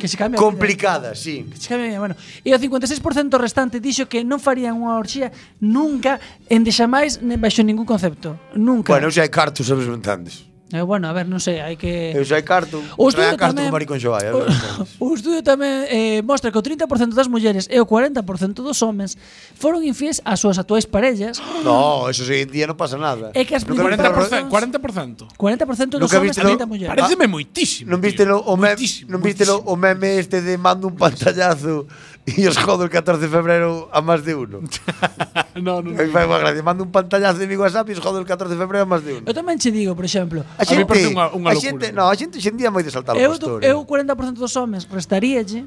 S7: que se cambia
S5: complicada, sí.
S7: Chícame, bueno. E o 56% restante dixo que non farían unha orxía nunca en deixamais ne baixo ningún concepto. Nunca.
S5: Bueno, eu xa hai cartos, sabes, non entendes.
S7: Eh, bueno, a ver, non sei, hai que
S5: Eu xa hai carto,
S7: Eh. O
S5: xa hai
S7: estudo
S5: carto con
S7: tamén-
S5: maricón xovai. eh, non entendes.
S7: O estudio tamén eh, mostra que o 30% das mulleres e o 40% dos homens foron infieles ás súas actuais parellas.
S5: No, eso hoxe en día non pasa nada.
S7: É que as
S5: Nunca viste
S4: 40%, 40%.
S5: o-
S7: 40% dos
S5: Nunca
S7: homens
S5: viste Ah.
S7: e 30
S5: lo-
S7: mulleres.
S5: Paréceme
S4: moitísimo.
S5: Non viste lo, o meme, non viste lo, o meme este de mando un pantallazo e os jodo el 14 de febrero a máis de uno.
S4: no,
S5: no. Aí fai unha gracia, mando un pantallazo de mi WhatsApp e os jodo el 14 de febrero a máis de uno.
S7: Eu tamén che digo, por exemplo,
S5: A xente, a xente, no, a xente hoxe en día é moi de saltar o
S7: eu,
S5: pastor.
S7: eu 40% dos homens restaríalle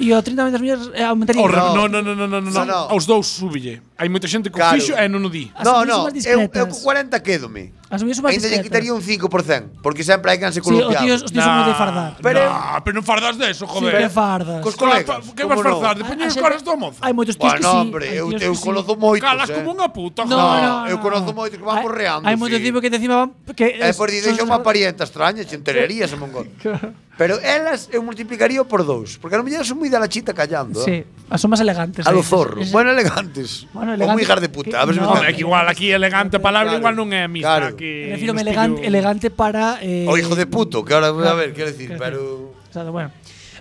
S7: e o 30% das mulleres eh, aumentaría.
S5: Oh,
S4: Horre- no, no, no, no, no, no,
S5: No, no.
S4: Aos dous súbille. Hai moita xente que
S5: Claro.
S4: o fixo e non o di.
S5: No, no, eu, eu co 40 quédome.
S7: As mulleres son máis
S5: Ainda lle
S7: discretas.
S5: quitaría un 5%, porque sempre hai canse
S7: Sí, os
S5: columpiado.
S7: tíos- os tíos son moi de fardar.
S5: Pero
S4: Ah, pero non fardas de eso, joder.
S7: Sí, que fardas.
S4: Cos colegas. Que vas
S5: como non?
S4: farzar? De poñer os caras do mozo.
S7: Hai moitos tíos que sí.
S5: Bueno, hombre,
S7: hai
S5: eu,
S7: tíos
S5: eu
S7: que sí.
S5: conozo moitos,
S4: Calas
S5: eh.
S4: como unha puta,
S7: No,
S4: joder.
S7: no,
S5: eu
S7: no.
S5: conozo moitos que van porreando.
S7: Hai moitos
S5: sí.
S7: tipos que te encima van que
S5: É por dizer
S7: son-
S5: unha parienta extraña, che enterarías a mongol. Pero elas eu multiplicaría por dous, porque as mulleres son moi da lachita callando.
S7: Sí,
S5: eh.
S7: as son máis elegantes.
S5: A lo
S7: eh.
S5: zorro.
S7: Es-
S5: Bueno, elegantes. Ou
S7: Bueno,
S5: moi
S7: elegantes
S5: hijas de puta, a ver se me
S4: No, é
S5: entendes.
S4: que igual aquí elegante a palabra
S5: Claro,
S4: igual non é a
S5: claro.
S4: mesma que
S7: Refírome elegante, elegante para eh,
S5: O hijo de puto, que ahora, a
S7: claro,
S5: ver, quero decir,
S7: quero
S5: pero...
S7: O sea, bueno.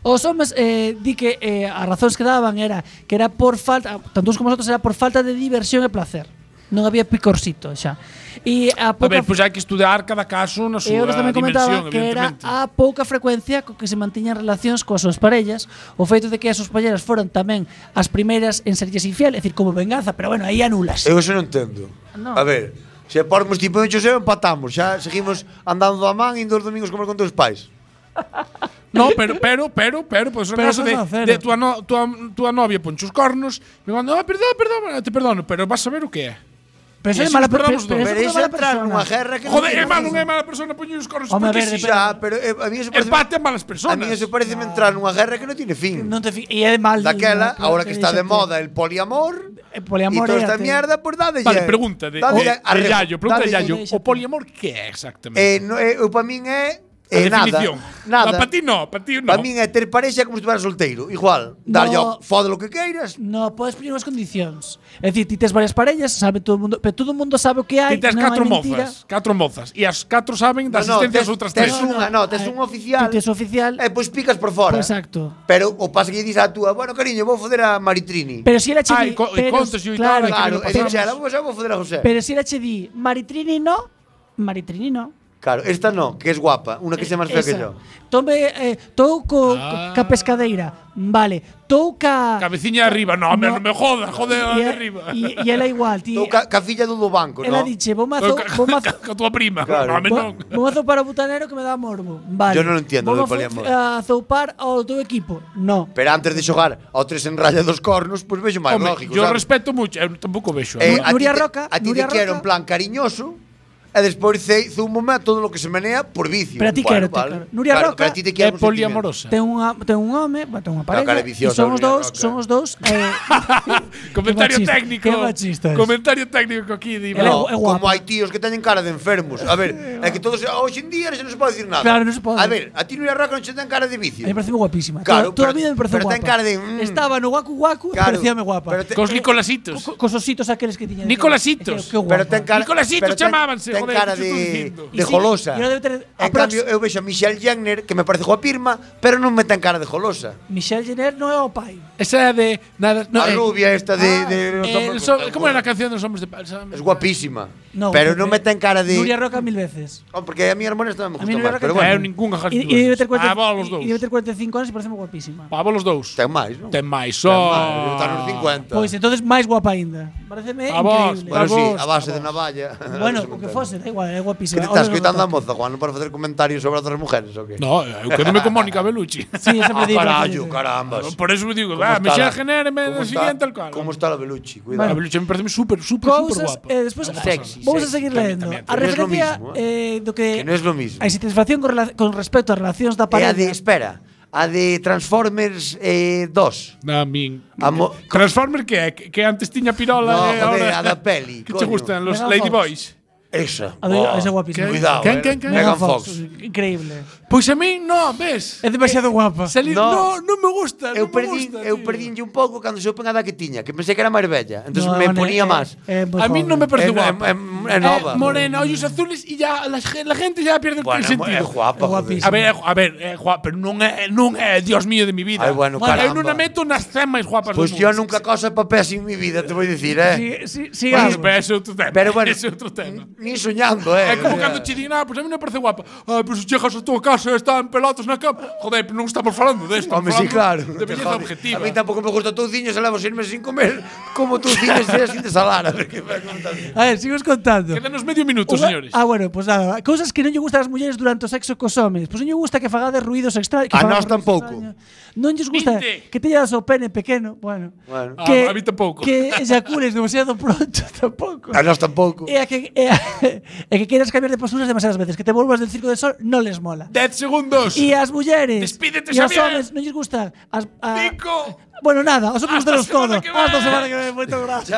S7: Os homes eh, di que eh, as razóns que daban era que era por falta, tanto uns como os outros, era por falta de diversión e placer. Non había picorcito xa. E a
S4: A
S7: pouca
S4: ver, pois hai que estudar cada caso na
S7: E
S4: súa
S7: outros tamén comentaba
S4: dimensión,
S7: que era
S4: evidentemente.
S7: a pouca frecuencia co que se mantiñan relacións coas súas parellas, o feito de que as súas parellas foran tamén as primeiras en serlles infiel, é dicir, como venganza, pero bueno, aí anulas.
S5: Eu eso non entendo.
S7: No.
S5: A ver, se pormos tipo en Xoseo empatamos, xa seguimos andando a man indo os domingos comer con teus pais.
S4: No, pero, pero, pero, pero, pues en
S7: Pero
S4: caso
S7: eso
S4: de,
S7: no cero.
S4: de tua, no, tua, tua novia ponche os cornos, me manda, ah, perdón, perdón, bueno, te perdono, pero vas a ver o que é.
S7: Pero eso
S4: E
S7: é
S4: así
S7: mala per-
S4: perdamos os
S7: pero
S4: dous.
S7: eso é
S5: Veréis
S7: mala
S5: entrar
S7: persona.
S5: nunha guerra que
S4: Joder,
S5: non
S4: é
S5: tiene
S4: mal, non
S5: razón.
S4: é mala persona pues poñer os cornos,
S7: Home, a
S4: porque
S7: ver,
S4: si
S7: depende.
S5: Xa, pero eh, a mí eso parece
S4: empate a malas
S5: A
S4: personas.
S5: mí eso parece entrar nunha guerra que non tiene fin.
S7: Non te fi- e é mal.
S5: Daquela,
S7: mal,
S5: agora que está de
S7: déxate.
S5: moda el poliamor, e
S7: E poliamor
S5: toda esta
S7: éate.
S5: mierda, pois dadelle.
S4: Vale, pregunta de,
S5: dadelle
S4: de,
S5: a
S4: de
S5: rebo-
S4: Yayo, pregunta de
S5: dadelle-
S4: Yayo, o poliamor que é exactamente?
S5: Eh, no, eh, eu para min é
S4: a
S5: eh, nada.
S4: definición.
S5: Nada.
S4: Para ti no, para ti no.
S5: Para min é ter parexa como se estivera solteiro. Igual, darlle
S7: No.
S5: ao fode lo que queiras.
S7: No, podes poñer unhas condicións. É dicir, ti tes varias parellas, sabe todo o mundo, pero todo o mundo sabe o que hai.
S4: Ti tes
S7: non
S4: catro
S7: hai mentira.
S4: mozas, catro mozas, e as catro saben da existencia das outras tres.
S5: tes unha, no, tes
S7: Ai,
S5: un oficial.
S7: ti Eh, tes o oficial.
S5: E pois picas por fora.
S7: Exacto.
S5: Pero o pasa que lle dis a túa, bueno, cariño, vou foder a Maritrini.
S7: Pero si ela che
S4: Ai,
S7: di,
S4: co- e
S7: pero-
S4: contas e tal, e
S5: claro,
S7: claro,
S4: que non
S5: e
S4: pasamos.
S5: dixera, vou, xa vou foder a José.
S7: pero si ela che di, Maritrini no, Maritrini no.
S5: Claro, esta no, que es guapa, una que sea máis fea que
S7: Esa.
S5: yo.
S7: Tome, eh, tou co,
S4: Ah.
S7: ca pescadeira. Vale. Tou ca...
S4: Cabeciña arriba, no, hombre, no me jodas, joder,
S7: E-
S4: arriba.
S7: E e ela igual, ti.
S4: Tou ca-
S5: cafilla do banco,
S7: Ela diche, vou mazo, vou mazo,
S4: Con tua prima. No,
S5: Claro.
S4: hombre, no.
S7: vou mazo para o butanero que me dá morbo. Vale.
S5: Yo non entiendo do
S7: Vou mazo-
S5: poliamor.
S7: A zoupar ao teu equipo. No.
S5: Pero antes de xogar ao tres en raya dos cornos, pois pues vexo máis
S4: Hombre,
S5: lógico,
S4: yo
S5: sabes?
S4: respeto mucho, eu tampouco vexo.
S5: Eh,
S4: ¿no?
S5: a ti te- A ti te quero en plan cariñoso, e despois zei- zumome a todo lo que se menea por vicio.
S7: Pero a ti
S5: Bueno,
S7: quero, te
S5: vale.
S7: claro. Nuria
S5: Claro,
S7: Roca
S5: pero a ti te quero por sentimiento.
S7: Ten un ten un home, bueno, ten unha
S5: Claro,
S7: pareja.
S5: cara viciosa,
S7: e son os
S5: Nuria
S7: dous, son os dous eh,
S4: Comentario
S7: Qué machista-
S4: técnico.
S7: qué machista es.
S4: Comentario técnico aquí, Dima.
S5: No, como hai tíos que teñen cara de enfermos. A ver, é que todos hoxe en día non se pode dicir nada.
S7: Claro, non se pode.
S5: A ver, a ti Nuria Roca non che ten cara de vicio.
S7: A mí me parece guapísima.
S5: Claro,
S7: toda, toda a
S5: pero-
S7: vida me parece
S5: pero
S7: guapa.
S5: ten cara de, mm.
S7: Estaba no Waku Waku
S5: Claro,
S7: e parecíame guapa.
S5: pero te-
S4: Cos Nicolasitos.
S7: Co- Cos ositos aqueles que tiñan.
S4: Nicolasitos.
S7: Que
S5: Pero
S7: guapa.
S5: ten cara,
S4: Nicolasitos
S5: pero ten-
S4: chamábanse,
S5: ten
S4: joder,
S5: cara
S4: que estou
S5: de,
S4: dicindo.
S5: de
S4: Y sí,
S5: golosa.
S4: y ahora debe tener
S5: en
S4: aprox-
S5: cambio, eu vexo a Michelle Jenner, que me parece guapirma, pero non me ten cara de golosa.
S7: Michelle Jenner non é o pai.
S4: Esa é de nada,
S7: eh,
S5: a rubia esta de...
S7: ah,
S5: de los
S4: Eh, el
S5: hombres-
S4: so- ¿Cómo era la canción de los hombres de Palsa?
S5: Es guapísima.
S4: No,
S5: pero
S4: porque
S5: non me ten cara de...
S7: Nuria Roca mil veces.
S5: Oh, porque a mi hermana esta me
S7: A
S5: gusta
S7: mí Nuria
S5: máis,
S7: Roca
S5: pero
S7: tamén.
S5: bueno.
S7: E, e debe ter 40, e debe ter 45 anos e pareceme guapísima.
S4: Pavo los dous.
S5: Ten máis, non?
S4: Ten máis, oh. só.
S5: Ten máis, debe estar nos 50.
S7: Pois Pues entonces máis guapa aínda. Pareceme
S4: A vos,
S7: increíble.
S5: Bueno, sí, a base de navalla.
S7: Bueno, o que fose, da igual,
S5: Que
S7: é guapísima.
S5: te estás
S7: Ahora non
S5: coitando a
S7: tanto.
S5: moza, Juan, non para facer comentarios sobre outras mujeres, o que?
S4: No, eu quedome con Mónica Bellucci.
S7: Sí, esa me digo,
S5: Carallo,
S7: sí.
S5: carambas.
S4: Por eso me digo, va, me xa genere, me da
S5: ¿Cómo está-
S4: siguiente al cual.
S5: ¿Cómo está la Bellucci? Cuidado.
S4: A Bellucci me parece súper, súper, súper
S7: Cousas,
S4: guapa.
S7: eh, despois
S4: Vamos a
S7: sexy,
S4: pasar.
S7: vamos a seguir
S4: También,
S7: lendo.
S4: también.
S7: A referencia eh, do que,
S5: Que non é lo mismo.
S7: a insatisfacción con, rela- con respecto ás relacións
S5: É
S7: da
S5: a
S7: parella.
S5: de, espera, a de Transformers eh, 2.
S4: A min.
S5: Amo-
S4: Transformer que é? Que que antes tiña pirola
S5: No,
S4: e
S5: joder,
S4: ahora...
S5: a da peli,
S4: Que te
S5: coño.
S4: gustan, los
S5: Megan
S4: Ladyboys?
S5: Esa.
S7: A ver,
S5: Buah.
S7: esa é guapísima.
S5: Cuidado, eh. Megan Fox.
S7: Increíble.
S4: Pois a min non, ves?
S7: É demasiado guapa.
S4: Salir, no, non me gusta,
S5: Eu
S4: non me
S5: perdín,
S4: gusta,
S5: eu
S4: tío.
S5: perdínlle un pouco cando se a edad que tiña, que pensei que era máis bella. Entón
S7: No, eh,
S5: me
S7: Vane,
S4: eh,
S5: ponía
S7: é-
S5: máis.
S7: é moi
S4: A mí
S7: joven.
S4: no me parece
S5: É-
S4: guapa.
S5: é- é- é nova.
S4: Eh, morena, ollos azules y ya la, gen- la gente ya pierde el
S5: Bueno,
S4: sentido.
S5: é guapa, É guapísima.
S4: A ver, é gu- a ver, é guapa, pero non é, non é Dios mío de mi vida.
S5: Ai, bueno,
S4: eu
S5: caramba. Pues-
S4: non a meto nas 100 máis guapas
S5: Pois
S4: do
S5: yo
S4: mundo.
S5: nunca cosa papéis en mi vida, te voy a decir, eh.
S7: Sí,
S4: Sí, bueno, pero
S7: pues,
S4: ese é outro tema.
S5: Pero bueno,
S4: ese é outro tema.
S5: Ni soñando, eh.
S4: É como
S5: o sea.
S4: cando che din, ah, pois a mí non me parece guapa. Ah, pero se chegas a tua casa e están pelatos na cama. Joder, pero non estamos falando desto.
S5: Home,
S4: estamos
S5: sí, claro.
S4: falando De
S5: Te
S4: belleza
S5: jode.
S4: objetiva.
S5: A mí tampouco me gusta touciño, se levo seis meses sin comer, como touciño se sin desalar. A ver, que vai contando.
S7: A ver, sigos contando.
S4: Quédanos medio minuto,
S7: Unha-
S4: señores.
S7: Ah, bueno, pues nada. Cousas que non lle gustan as mulleres durante o sexo cos homes. Pois non lle gusta que fagades ruidos extraños.
S5: A nós tampouco.
S7: Non lles gusta que teñas o pene pequeno. Bueno.
S5: Bueno.
S7: Que,
S5: Ah, a mí tampouco.
S7: Que eyacules demasiado pronto tampouco.
S5: A nós tampouco.
S7: E a que, e a, e que queiras cambiar de posturas demasiadas veces. Que te volvas del circo de sol non les mola.
S4: 10 segundos.
S7: E as mulleres
S4: Despídete,
S7: e os
S4: Xavier.
S7: homes non lles gusta as, a, Bueno, nada, os hombres
S4: Hasta
S7: delos
S4: semana
S7: todo.
S4: que
S7: Hasta
S4: ven.
S7: semana que ven. Moito gracias.